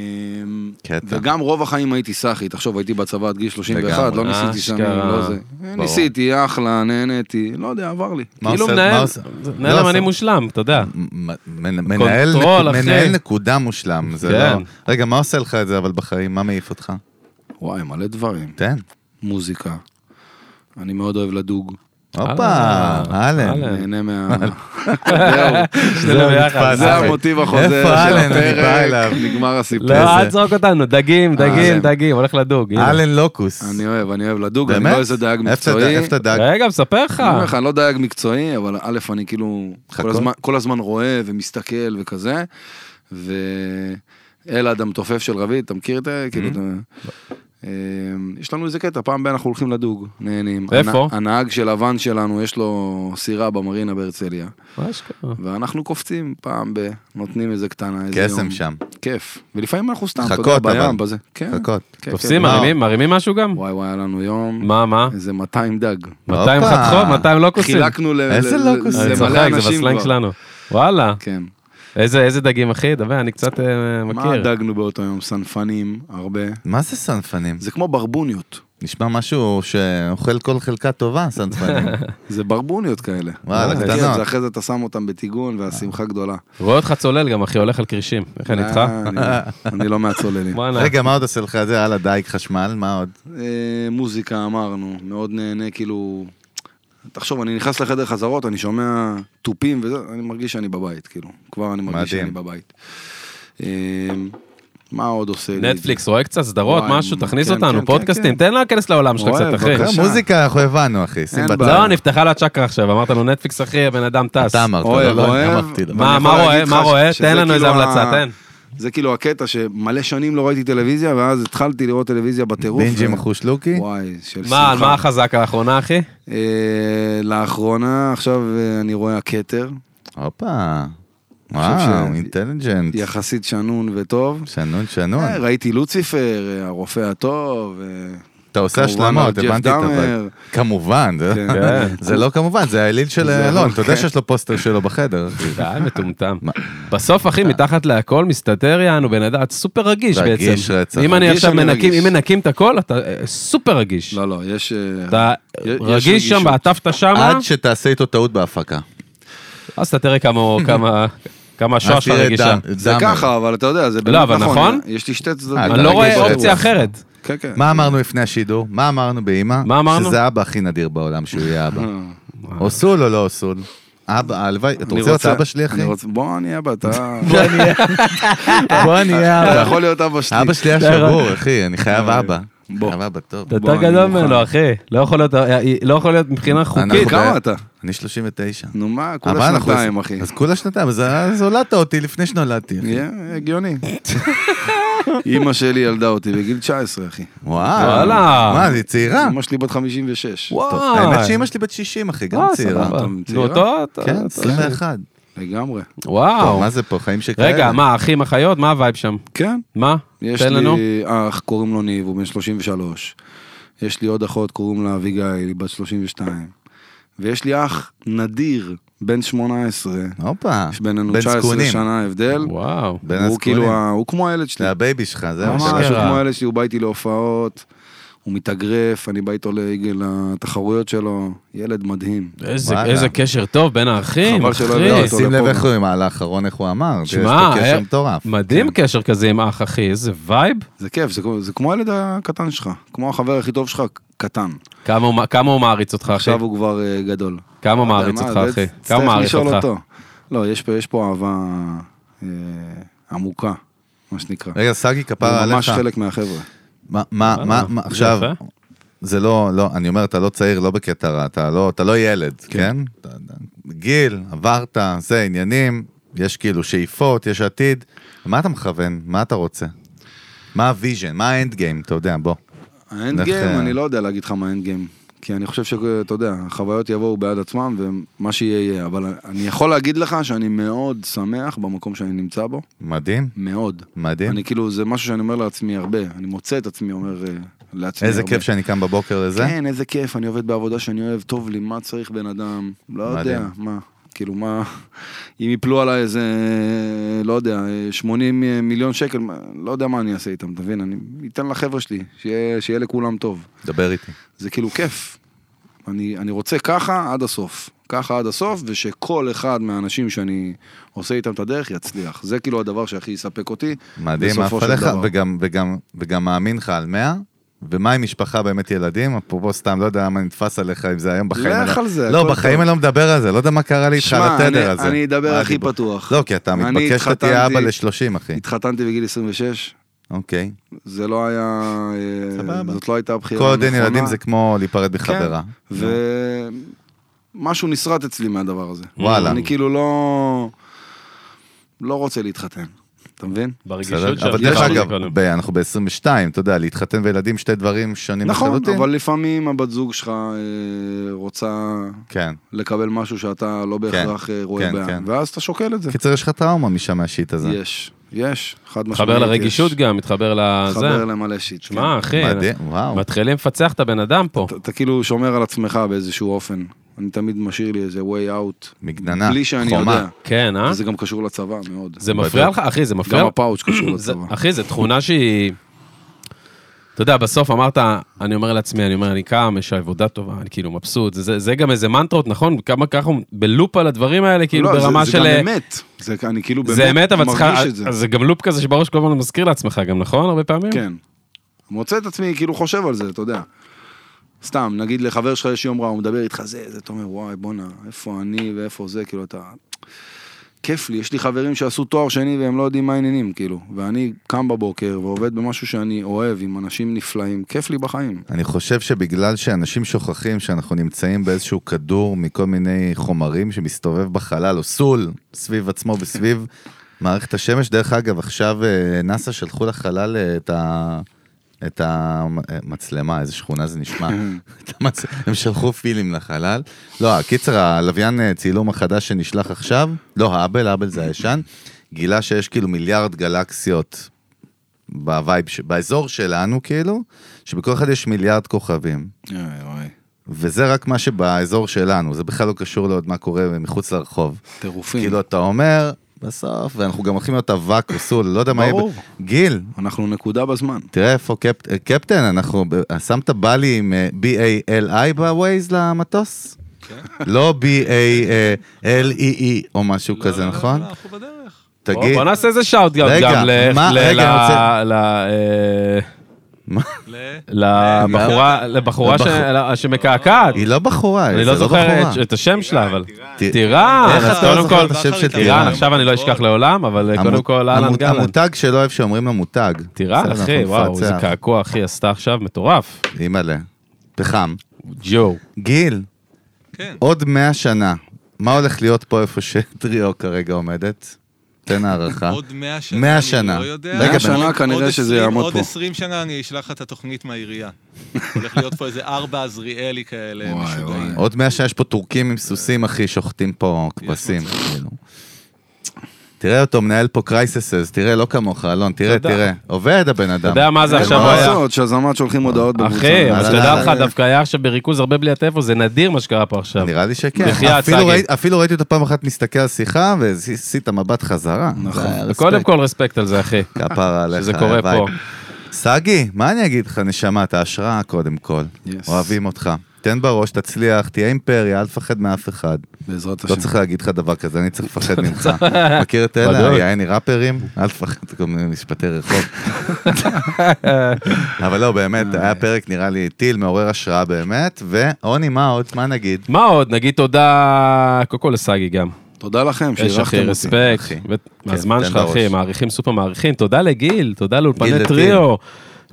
S2: קטע.
S3: וגם רוב החיים הייתי סאחי, תחשוב, הייתי בצבא עד גיל 31, לא
S2: לגמרי,
S3: ניסיתי שם,
S1: אשכרה.
S3: לא זה. ניסיתי, אחלה, נהניתי, לא יודע, עבר לי.
S2: מה
S1: כאילו
S2: עושה- מה
S1: מנהל,
S2: עושה-
S1: מנהל
S2: לא
S1: אמני
S2: עושה-
S1: מושלם, אתה יודע.
S2: מ- מנ- מנהל
S1: קונטרול, אחי.
S2: מנהל נקודה מושלם, זה
S1: כן.
S2: לא... רגע, מה עושה לך את זה אבל בחיים? מה מעיף אותך?
S3: וואי, מלא דברים.
S2: תן.
S3: מוזיקה. אני מאוד אוהב לדוג.
S2: הופה,
S1: אה,
S2: אלן.
S1: אהלן.
S3: נהנה מה... זהו,
S1: שנינו ביחד.
S2: נתפס.
S1: אה,
S3: זה המוטיב החוזר של
S2: איפה אלן? אני בא
S3: הפרק,
S2: אליו.
S3: נגמר הסיפור.
S1: לא, אל תזרוק אותנו, דגים, דגים,
S3: אה,
S1: דגים, הולך לדוג. הנה.
S2: אלן לוקוס.
S3: אני אוהב, אני אוהב לדוג, אני
S2: באמת?
S3: לא איזה דייג
S2: איפה אתה-
S3: מקצועי.
S2: איפה אתה אה. דג?
S1: רגע, מספר לך.
S3: אני אומר לך, אני לא דייג מקצועי, אבל א', אני כאילו כל
S2: חכות.
S3: הזמן, כל הזמן רואה ומסתכל וכזה, ואלעד המתופף של רביד, אתה מכיר את זה? כאילו, אתה-
S2: Mm-hmm.
S3: אמ, יש לנו איזה קטע, פעם ב- אנחנו הולכים לדוג, נהנים.
S1: איפה?
S3: הנה- הנהג של הוואן שלנו, יש לו סירה במרינה בהרצליה,
S1: מה שקרה?
S3: ואנחנו קופצים פעם ב... נותנים איזה קטנה,
S1: כן.
S3: איזה יום.
S2: קסם שם.
S3: כיף. ולפעמים אנחנו סתם, אתה יודע,
S2: חכות, אבל.
S3: בים, בזה. כן.
S2: חכות.
S3: כן,
S1: תופסים,
S3: כן.
S2: מה?
S1: מרימים, מרימים משהו גם?
S3: וואי וואי, היה לנו יום,
S1: מה, מה?
S3: איזה 200 דג.
S1: 200
S2: הופה.
S1: חתכות, 200 לוקוסים.
S3: חילקנו ל-
S2: איזה לא
S3: ל-
S2: לוקוסים?
S1: לא אני
S3: למלא
S1: צוחק, זה
S3: אנשים
S1: בסלנג
S3: כבר.
S1: שלנו. וואלה,
S3: כן.
S1: איזה איזה דגים, אחי, דבר, אני קצת אה,
S3: מה
S1: מכיר.
S3: דגנו באותו יום? סנפנים, הרבה.
S2: מה זה סנפנים?
S3: זה כמו ברבוניות.
S2: נשמע משהו שאוכל כל חלקה טובה, סנפנים.
S1: נכון.
S3: זה ברבוניות כאלה.
S2: וואלה,
S3: אתה
S2: קטנות.
S3: מכיר את זה, אחרי זה אתה שם אותם בטיגון והשמחה גדולה.
S1: רואה אותך צולל גם, אחי, הולך על קרשים. איך אני כן, איתך?
S3: אה, אני- אני לא מהצוללים.
S1: וואלה.
S2: רגע, מה עוד עושה לך את זה? יאללה, דייג, חשמל, מה עוד?
S3: אה, מוזיקה אמרנו, מאוד נהנה, כאילו... תחשוב, אני נכנס לחדר חזרות, אני שומע תופים וזה, אני מרגיש שאני בבית, כאילו. כבר אני מרגיש
S2: מדהים.
S3: שאני בבית. אה, מה עוד עושה לי? את זה?
S1: נטפליקס, רואה קצת סדרות,
S3: וואי,
S1: משהו, תכניס
S3: כן, כן,
S1: אותנו,
S3: כן,
S1: פודקאסטים,
S3: כן.
S1: תן לה להיכנס לעולם שלך
S3: רואה,
S1: קצת, אחי.
S3: בבקשה.
S2: לא, מוזיקה, אנחנו הבנו, אחי. שים
S3: אין
S2: בצד.
S3: בעיה.
S1: לא, נפתחה לה הצ'קרה עכשיו, אמרת לו נטפליקס, אחי, הבן אדם טס.
S2: אתה אמרת,
S3: אוהב,
S2: לא, לא, אני
S3: אוהב.
S2: אמרתי לו.
S1: מה-
S3: ואני יכול
S1: מה רואה?
S3: להגיד לך
S1: מה
S3: ש-
S1: רואה?
S3: שזה
S1: תן לנו איזה
S3: כאילו
S1: המלצה,
S3: ה-
S1: תן.
S3: זה כאילו הקטע שמלא שנים לא ראיתי טלוויזיה, ואז התחלתי לראות טלוויזיה בטירוף.
S2: בינג'י
S3: ו-
S2: מחושלוקי?
S3: וואי, של
S1: מה,
S3: שמחה.
S1: על מה החזק האחרונה, אחי?
S3: אה, לאחרונה, עכשיו אה, אני רואה הכתר,
S2: הופה.
S3: אני חושב
S2: וואו,
S3: ש-
S2: אינטליג'נט.
S3: יחסית שנון וטוב.
S2: שנון, שנון.
S3: אה, ראיתי לוציפר, אה, הרופא הטוב. אה,
S2: אתה עושה
S3: כמובן,
S2: השלמות,
S3: ג'ף
S2: הבנתי את
S3: דאמר.
S2: הפרק. כמובן, זה-
S3: כן.
S1: כן.
S2: זה לא כמובן, זה האליל של
S3: זה- לא-
S2: אלון, אתה יודע שיש לו פוסטר שלו בחדר. אחי.
S1: די, מטומטם.
S2: מה? אה.
S1: בסוף, אחי, מתחת להכל מסתתר יענו, בן אדם, אתה סופר רגיש בעצם.
S2: רגיש רצח.
S1: אם אני
S3: רגיש,
S1: עכשיו
S3: אני
S1: מנקים, אם
S3: רגיש.
S1: מנקים את הכל, אתה אה, סופר רגיש.
S3: לא, לא, יש... אה,
S1: אתה
S3: יש
S1: רגיש שם,
S3: רגישות.
S1: בעטפת שמה,
S2: עד שתעשה איתו טעות בהפקה.
S1: אז אתה תראה כמה- כמה- כמה השואה
S2: אז
S1: שלך
S2: תראה
S1: רגישה.
S2: דם-
S3: זה
S2: דאמר.
S3: ככה, אבל אתה יודע, זה
S1: לא, אבל נכון.
S3: יש לי שתי צדדים.
S2: אה,
S1: אני לא
S2: רגיש
S1: רואה
S2: רצח.
S1: אופציה אחרת.
S3: כן, כן.
S2: מה אמרנו לפני השידור? מה אמרנו באימא?
S1: מה אמרנו?
S2: שזה האבא הכי נדיר בעולם שהוא יהיה אבא.
S3: אה.
S2: אוסול או לא אוסול? אבא, הלוואי, אתה
S3: אני
S2: רוצה להיות אבא שלי אחי?
S3: אני רוצה- בוא, אני אבא, אתה...
S2: בוא נהיה
S3: אתה
S2: אבא.
S3: יכול להיות אבא שלי.
S2: אבא שלי היה שבור אחי, אני חייב אבא.
S3: בוא.
S2: חייב אבא טוב.
S1: אתה
S3: בוא,
S1: יותר
S3: אני
S1: גדול
S3: מוכן.
S1: ממנו, אחי. לא יכול להיות- אה, אה, לא יכול להיות מבחינה חוקית.
S2: אנחנו
S3: כמה
S2: ב-
S3: אתה?
S2: אני 39.
S3: נו מה,
S2: אבל
S3: כולה
S2: אנחנו-
S3: שנתיים, אחי.
S2: אז כולה שנתיים, אז- אה, אז הולדת אותי לפני שנולדתי. אחי.
S3: יהיה הגיוני. אימא שלי ילדה אותי בגיל 19, אחי.
S2: וואו.
S1: וואלה.
S2: מה, היא צעירה.
S3: אימא שלי בת 56.
S2: טוב,
S1: וואי.
S2: האמת שאימא שלי בת 60 אחי, גם
S1: אה,
S2: צעירה.
S1: סבבה.
S3: אתה
S1: נו,
S3: צעירה?
S1: אותו, אותו-
S2: כן,
S1: אותו.
S2: 21.
S3: לגמרי.
S1: וואו.
S2: טוב, מה זה פה, חיים שכאלה.
S1: רגע, מה, אחים, אחיות, מה הווייב שם?
S3: כן.
S1: מה?
S3: יש
S1: תן לנו.
S3: לי אה, אח, קוראים לו ניב, הוא בן 33. יש לי עוד אחות, קוראים לה אביגיל, היא בת 32. ויש לי אח נדיר, בן 18.
S2: הופה.
S3: יש בינינו
S2: בן
S3: 19
S2: זקונים.
S3: שנה הבדל.
S1: וואו.
S2: בין
S3: הוא כאילו,
S2: הזקונים.
S3: ה- הוא כמו הילד שלי.
S2: זה הבייבי שלך, זהו.
S3: ממש,
S2: שלך.
S1: אשכרה.
S3: הוא כמו אלה שלי, הוא בא איתי להופעות, הוא מתאגרף, אני בא איתו לעיגל לתחרויות שלו, ילד מדהים.
S1: איזה-
S2: וואלה.
S1: איזה קשר טוב בין האחים,
S3: חבל
S1: אחי.
S3: שלא הביאו
S2: לא,
S3: אותו
S2: שים לב
S3: לפה.
S2: איך הוא עם האחרון, איך הוא אמר. תראה, יש
S1: שמע,
S2: פה
S1: אה,
S2: קשר מטורף. כן.
S1: מדהים קשר כזה עם אח, אחי, איזה וייב.
S3: זה כיף, זה, כמו- זה כמו הילד הקטן שלך, כמו החבר הכי טוב שלך, קטן.
S1: כמה הוא- כמה הוא מעריץ אותך, אחי?
S3: עכשיו הוא כבר אה, גדול.
S1: כמה הוא לא מעריץ
S3: אתה
S1: אותך,
S3: יודע,
S1: אחי?
S3: זה-
S1: כמה הוא
S3: צריך
S1: מעריץ
S3: לשאול
S1: אותך?
S3: אותו. לא, יש פה, יש פה אהבה אה, עמוקה, מה שנקרא.
S2: רגע, סגי כפרה
S3: הוא ממש
S2: עליך.
S3: חלק מהחבר'ה.
S2: מה, מה,
S1: וואלה,
S2: מה, מה,
S1: אה, זה
S2: עכשיו,
S1: יפה.
S2: זה לא, לא, אני אומר, אתה לא צעיר, לא בקטע רע, אתה לא, אתה לא ילד, כן? אתה- אתה- גיל, עברת, זה, עניינים, יש כאילו שאיפות, יש עתיד. מה אתה מכוון? מה אתה רוצה? מה הוויז'ן? מה האנד גיים? אתה יודע, בוא.
S3: האנד
S2: לך,
S3: גיים,
S2: אה,
S3: אני לא יודע להגיד לך מה האנד גיים. כי אני חושב שאתה יודע, החוויות יבואו בעד עצמם ומה שיהיה יהיה. אבל אני יכול להגיד לך שאני מאוד שמח במקום שאני נמצא בו.
S2: מדהים,
S3: מאוד.
S2: מדהים.
S3: אני כאילו, זה משהו שאני אומר לעצמי הרבה. אני מוצא את עצמי אומר אה, לעצמי הרבה.
S2: איזה כיף שאני קם בבוקר לזה.
S3: כן, איזה כיף, אני עובד בעבודה שאני אוהב, טוב לי, מה צריך בן אדם? לא יודע,
S2: מדהים.
S3: מה. כאילו מה, אם יפלו עליי איזה, לא יודע, 80 מיליון שקל, מה- לא יודע מה אני אעשה איתם, אתה מבין? אני אתן לחבר'ה שלי, שיהיה, שיהיה לכולם טוב.
S2: דבר איתי.
S3: זה כאילו כיף. אני, אני רוצה ככה עד הסוף. ככה עד הסוף, ושכל אחד מהאנשים שאני עושה איתם את הדרך יצליח. זה כאילו הדבר שהכי יספק אותי.
S2: מדהים,
S3: בסופו
S2: עף
S3: של
S2: עליך,
S3: דבר.
S2: וגם, וגם, וגם מאמין לך על 100, ומה עם משפחה באמת ילדים? אפרופו סתם, לא יודע למה נתפס עליך אם זה היום בחיים.
S3: לך
S2: אני לא-
S3: על זה,
S2: לא,
S3: הכל
S2: בחיים
S3: טוב.
S2: אני לא מדבר על זה, לא יודע מה קרה לי איתך על
S3: שמע,
S2: התדר
S3: אני-
S2: הזה.
S3: אני אדבר
S2: מה
S3: הכי
S2: הדיבור?
S3: פתוח.
S2: לא, כי אתה
S3: אני
S2: מתבקש שתהיה
S3: התחתנתי-
S2: אבא ל-30, אחי.
S3: התחתנתי בגיל 26,
S2: אוקיי.
S3: זה לא היה... אה,
S2: סבבה.
S3: זאת לא הייתה הבחירה
S2: כל עוד
S3: הנכונה.
S2: אין ילדים זה כמו להיפרד מחברה.
S3: כן, ומשהו נסרט אצלי מהדבר הזה.
S2: וואלה.
S3: אני כאילו לא... לא רוצה להתחתן, אתה מבין?
S2: בסדר?
S1: ברגישות
S2: אבל
S1: שדיברנו
S2: דרך אגב,
S1: קודם.
S2: ב- אנחנו ב-22, אתה יודע, להתחתן וילדים שתי דברים שונים
S3: נכון,
S2: לחלוטין.
S3: אבל לפעמים הבת זוג שלך אה, רוצה
S2: כן.
S3: לקבל משהו שאתה לא בהכרח אה, רואה
S2: כן,
S3: בעין,
S2: כן.
S3: ואז אתה שוקל את זה.
S2: קיצר, יש לך טראומה משם מהשיט הזה.
S3: יש, יש, חד משמעית.
S1: מתחבר
S3: יש.
S1: לרגישות גם, מתחבר לזה.
S3: מתחבר למלא שיט. כן.
S1: שמע, אחי,
S2: מדהים, וואו.
S1: מתחילים לפצח את הבן אדם פה.
S3: אתה- אתה כאילו שומר על עצמך באיזשהו אופן. אני תמיד משאיר לי איזה way out.
S2: מגננה,
S3: בלי שאני
S2: חומה.
S3: יודע.
S1: כן, אה?
S3: וזה גם קשור לצבא מאוד.
S1: זה מפריע לך? אחי, זה מפריע
S3: גם לא
S1: לך?
S3: הפאוץ' קשור
S1: זה-
S3: לצבא.
S1: אחי, זו תכונה שהיא... אתה יודע, בסוף אמרת, אני אומר לעצמי, אני אומר, אני קם, יש עבודה טובה, אני כאילו מבסוט. זה- זה זה גם איזה מנטרות, נכון? כמה ככה הוא בלופ על הדברים האלה, כאילו
S3: לא, זה-
S1: ברמה של...
S3: זה גם אמת. זה- אני כאילו
S1: זה אמת,
S3: באמת
S1: אבל צריכה...
S3: מרגיש את זה.
S1: אז זה גם לופ כזה שבראש כל הזמן מזכיר לעצמך גם, נכון? הרבה פעמים?
S3: כן. מוצא את עצמי כאילו חושב על זה, אתה יודע. סתם, נגיד לחבר שלך יש יום רע, הוא מדבר איתך זה, זה, אתה אומר, וואי, בואנה, איפה אני ואיפה זה, כאילו, אתה... כיף לי, יש לי חברים שעשו תואר שני והם לא יודעים מה העניינים, כאילו. ואני קם בבוקר ועובד במשהו שאני אוהב, עם אנשים נפלאים, כיף לי בחיים.
S2: אני חושב שבגלל שאנשים שוכחים שאנחנו נמצאים באיזשהו כדור מכל מיני חומרים שמסתובב בחלל, או סול, סביב עצמו וסביב מערכת השמש. דרך אגב, עכשיו אה, נאסא שלחו לחלל אה, את ה... את המצלמה, איזה שכונה זה נשמע. את המצ- הם שלחו פילים לחלל. לא, קיצר, הלוויין אה, צילום החדש שנשלח עכשיו, לא, האבל, האבל זה הישן, גילה שיש כאילו מיליארד גלקסיות בווייב, ש- באזור שלנו כאילו, שבכל אחד יש מיליארד כוכבים. וזה רק מה שבאזור שלנו, זה בכלל לא קשור לעוד מה קורה מחוץ לרחוב.
S1: כן.
S3: טירופים.
S2: כאילו אתה אומר, בסוף, ואנחנו גם הולכים להיות אבק או סול, לא יודע מה יהיה. ב-
S3: ברור.
S2: גיל,
S3: אנחנו נקודה בזמן.
S2: תראה איפה קפ- אה, קפטן, אנחנו, ב- שמת בלי עם אה, B-A-L-I בווייז למטוס?
S4: כן.
S2: לא B-A-L-E-E E או משהו
S4: לא,
S2: כזה,
S4: לא, לא,
S2: נכון?
S4: לא, אנחנו בדרך.
S1: בוא
S2: תגיד,
S1: בוא נעשה איזה שאוט גם
S2: רגע,
S1: גם ל-
S2: מה-
S1: ל-
S2: רגע,
S1: ל-
S2: אני רוצה-
S1: ל- אה,
S2: מה?
S4: ל...
S2: אה,
S1: לבחורה לבחורה ש-
S2: לבחור-
S1: שמקעקעת.
S2: היא לא בחורה,
S1: אני
S2: זה
S1: לא זוכר
S2: בחורה.
S1: את- את השם שלה, אבל...
S2: טירן.
S1: טירן,
S2: איך
S1: אז
S2: אתה לא
S1: קודם
S2: זוכר
S1: כל...
S2: את השם של
S1: טירן,
S2: טירן?
S1: עכשיו אני לא אשכח לעולם, אבל קודם
S2: המות-
S1: כל אהלן
S2: המות-
S1: גלן.
S2: המותג שלא אוהב שאומרים לו מותג.
S1: טירן,
S2: בסדר,
S1: אחי,
S2: אנחנו
S1: וואו,
S2: נפצח.
S1: איזה קעקוע, אחי, עשתה עכשיו, מטורף.
S2: אימא'לה, פחם.
S1: ג'ו.
S2: גיל,
S4: כן.
S2: עוד 100 שנה, מה הולך להיות פה איפה שטריו כרגע עומדת? תן הערכה.
S4: עוד 100 שנה,
S2: 100
S4: אני
S2: אה, שנה.
S4: לא יודע.
S2: רגע, 100 שנה
S4: עוד
S3: כנראה שזה
S4: 20
S3: יעמוד פה.
S4: עוד 20 שנה אני אשלח לך את התוכנית מהעירייה. הולך להיות פה איזה ארבע עזריאלי כאלה,
S3: וואי,
S4: משוגעים.
S2: עוד 100 שנה יש פה טורקים עם סוסים, אחי, שוחטים פה כבשים. כאילו. תראה אותו מנהל פה קרייססס, תראה, לא כמוך, אלון, תראה,
S1: תודה.
S2: תראה. עובד הבן אדם.
S1: יודע מה זה
S2: אין
S1: עכשיו
S2: מה
S1: היה?
S2: לעשות.
S3: לעשות, שזמת שולחים הודעות בקבוצה.
S1: אחי, אבל
S2: אז
S1: תדע
S2: יאללה.
S1: לך, דווקא היה עכשיו בריכוז הרבה בלי הטלפון, זה נדיר מה שקרה פה עכשיו.
S2: נראה לי שכן.
S1: בחייאת,
S2: אפילו
S1: צגי.
S2: ראי- אפילו ראיתי אותו פעם אחת מסתכל על שיחה, ועשית מבט חזרה.
S3: נכון.
S2: זה היה
S1: קודם
S2: רספקט.
S1: כל רספקט על זה, אחי.
S2: כפרה עליך.
S1: שזה קורה
S2: הלוואי.
S1: פה.
S2: סגי, מה אני אגיד לך, נשמה, אתה השראה קודם כל.
S3: Yes.
S2: אוהבים אותך. תן בראש, תצליח, תהיה אימפריה, אל תפחד מאף אחד.
S3: בעזרת
S2: לא
S3: השם.
S2: צריך להגיד לך דבר כזה, אני צריך לפחד ממך. מכיר את אלה,
S1: בדיוק.
S2: יעני ראפרים? אל תפחד, כל מיני משפטי רחוב. אבל לא, באמת, היה פרק נראה לי טיל מעורר השראה באמת, ועוני, מה עוד? מה נגיד?
S1: מה עוד? נגיד תודה, קודם כל לסגי גם.
S3: תודה לכם
S1: יש
S3: שאירחתם
S1: אחי,
S3: אותי.
S1: רספקט.
S2: אחי. כן,
S1: ו- מהזמן
S2: תן
S1: שלך,
S2: בראש.
S1: אחי, מעריכים, סופר מעריכים. תודה לגיל, תודה
S2: גיל
S1: לאולפני
S2: לוין.
S1: טריו.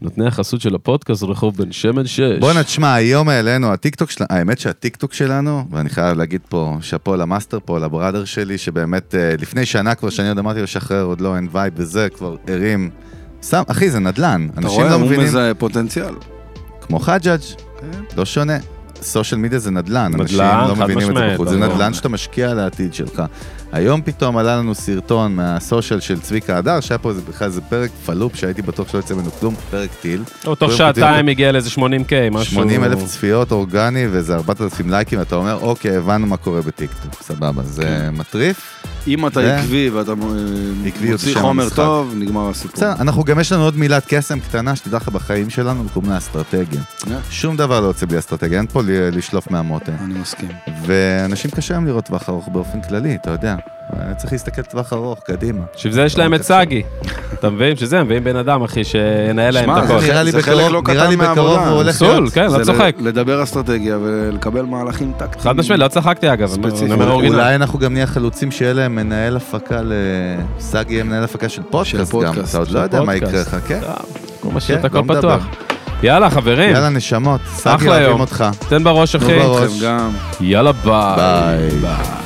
S1: נותני החסות של הפודקאסט רחוב בן שמן 6.
S2: בואנה, תשמע, היום העלינו, הטיקטוק שלנו, האמת שהטיקטוק שלנו, ואני חייב להגיד פה, שאפו למאסטר פה, לבראדר שלי, שבאמת, אה, לפני שנה כבר, שאני עוד אמרתי לו, שחרר, עוד לא, אין וייב וזה, כבר הרים. סתם, אחי, זה נדל"ן.
S3: אתה
S2: אנשים
S3: רואה,
S2: לא
S3: הוא
S2: מבינים,
S3: מזהה פוטנציאל.
S2: כמו חג'אג', לא שונה. סושיאל מדיה זה נדל"ן, אנשים
S1: כן. נדל"ן,
S2: לא
S1: חד
S2: מבינים את זה
S1: משמעית, לא,
S2: בחוץ. זה
S1: ברור.
S2: נדל"ן שאתה משקיע על העתיד שלך. היום פתאום עלה לנו סרטון מהסושיאל של צביקה הדר, שהיה פה איזה- בכלל איזה פרק פלופ שהייתי בטוח שלא יצא ממנו כלום, פרק טיל.
S1: או תוך
S2: קודם כל,
S1: שעתיים הגיע לאיזה 80K, משהו...
S2: 80 אלף צפיות אורגני ואיזה 4,000 לייקים, אתה אומר, אוקיי, הבנו מה קורה בטיקטוק, סבבה, זה
S1: כן.
S2: מטריף.
S3: אם אתה
S2: זה-
S3: עקבי ואתה אה,
S2: עקביות
S3: מוציא
S2: שם
S3: חומר
S2: המשחק.
S3: טוב, נגמר
S1: כן.
S3: הסיפור.
S2: בסדר, אנחנו גם יש לנו עוד מילת קסם קטנה, שתדע לך, בחיים שלנו, בקוראים לה אסטרטגיה.
S3: אה,
S2: שום דבר לא יוצא בלי אסטרטגיה, אין פה ל- לשלוף מהמותן.
S3: אני מסכים.
S2: ואנשים קשה להם לראות טווח ארוך באופן כללי, אתה יודע. אה, צריך להסתכל טווח ארוך, קדימה.
S1: בשביל זה יש להם את סאגי. אתה מבין? בשביל זה הם מביאים בן אדם, אחי, שינהל להם
S3: שמע,
S1: את
S3: זה
S1: הכל.
S3: חלק-
S2: נראה לי
S3: זה חלק
S2: בקרוב-
S3: לא
S2: נראה
S3: קטן
S2: לי בקרוב
S3: מהעבודה.
S2: הוא הולך
S1: פסול, כן,
S3: זה
S1: לא
S3: ל-
S1: צוחק.
S3: לדבר אסטרטגיה ולקבל מהלכים טקטיים.
S1: חד משמעית, לא צחקתי אגב. אני
S3: ספציפית.
S1: אומר
S2: אולי-
S1: אורגינל.
S2: אולי אנחנו גם נהיה חלוצים שיהיה להם מנהל הפקה ל... סאגי יהיה מנהל הפקה של פודקאסט גם,
S3: פודקאסט,
S2: אתה עוד
S1: של
S2: לא יודע מה יקרה, כן?
S1: פודקאסט.
S2: חכה.
S1: הוא משאיר את
S2: כן,
S1: הכל
S2: לא מדבר.
S1: פתוח. יאללה, חברים,
S2: יאללה נשמות, סאגי
S1: כן. אחלה
S2: אוהבים
S1: יום.
S2: אותך.
S1: תן בראש, אחי.
S2: בראש.
S3: אתכם גם.
S1: יאללה, ביי.
S2: ביי.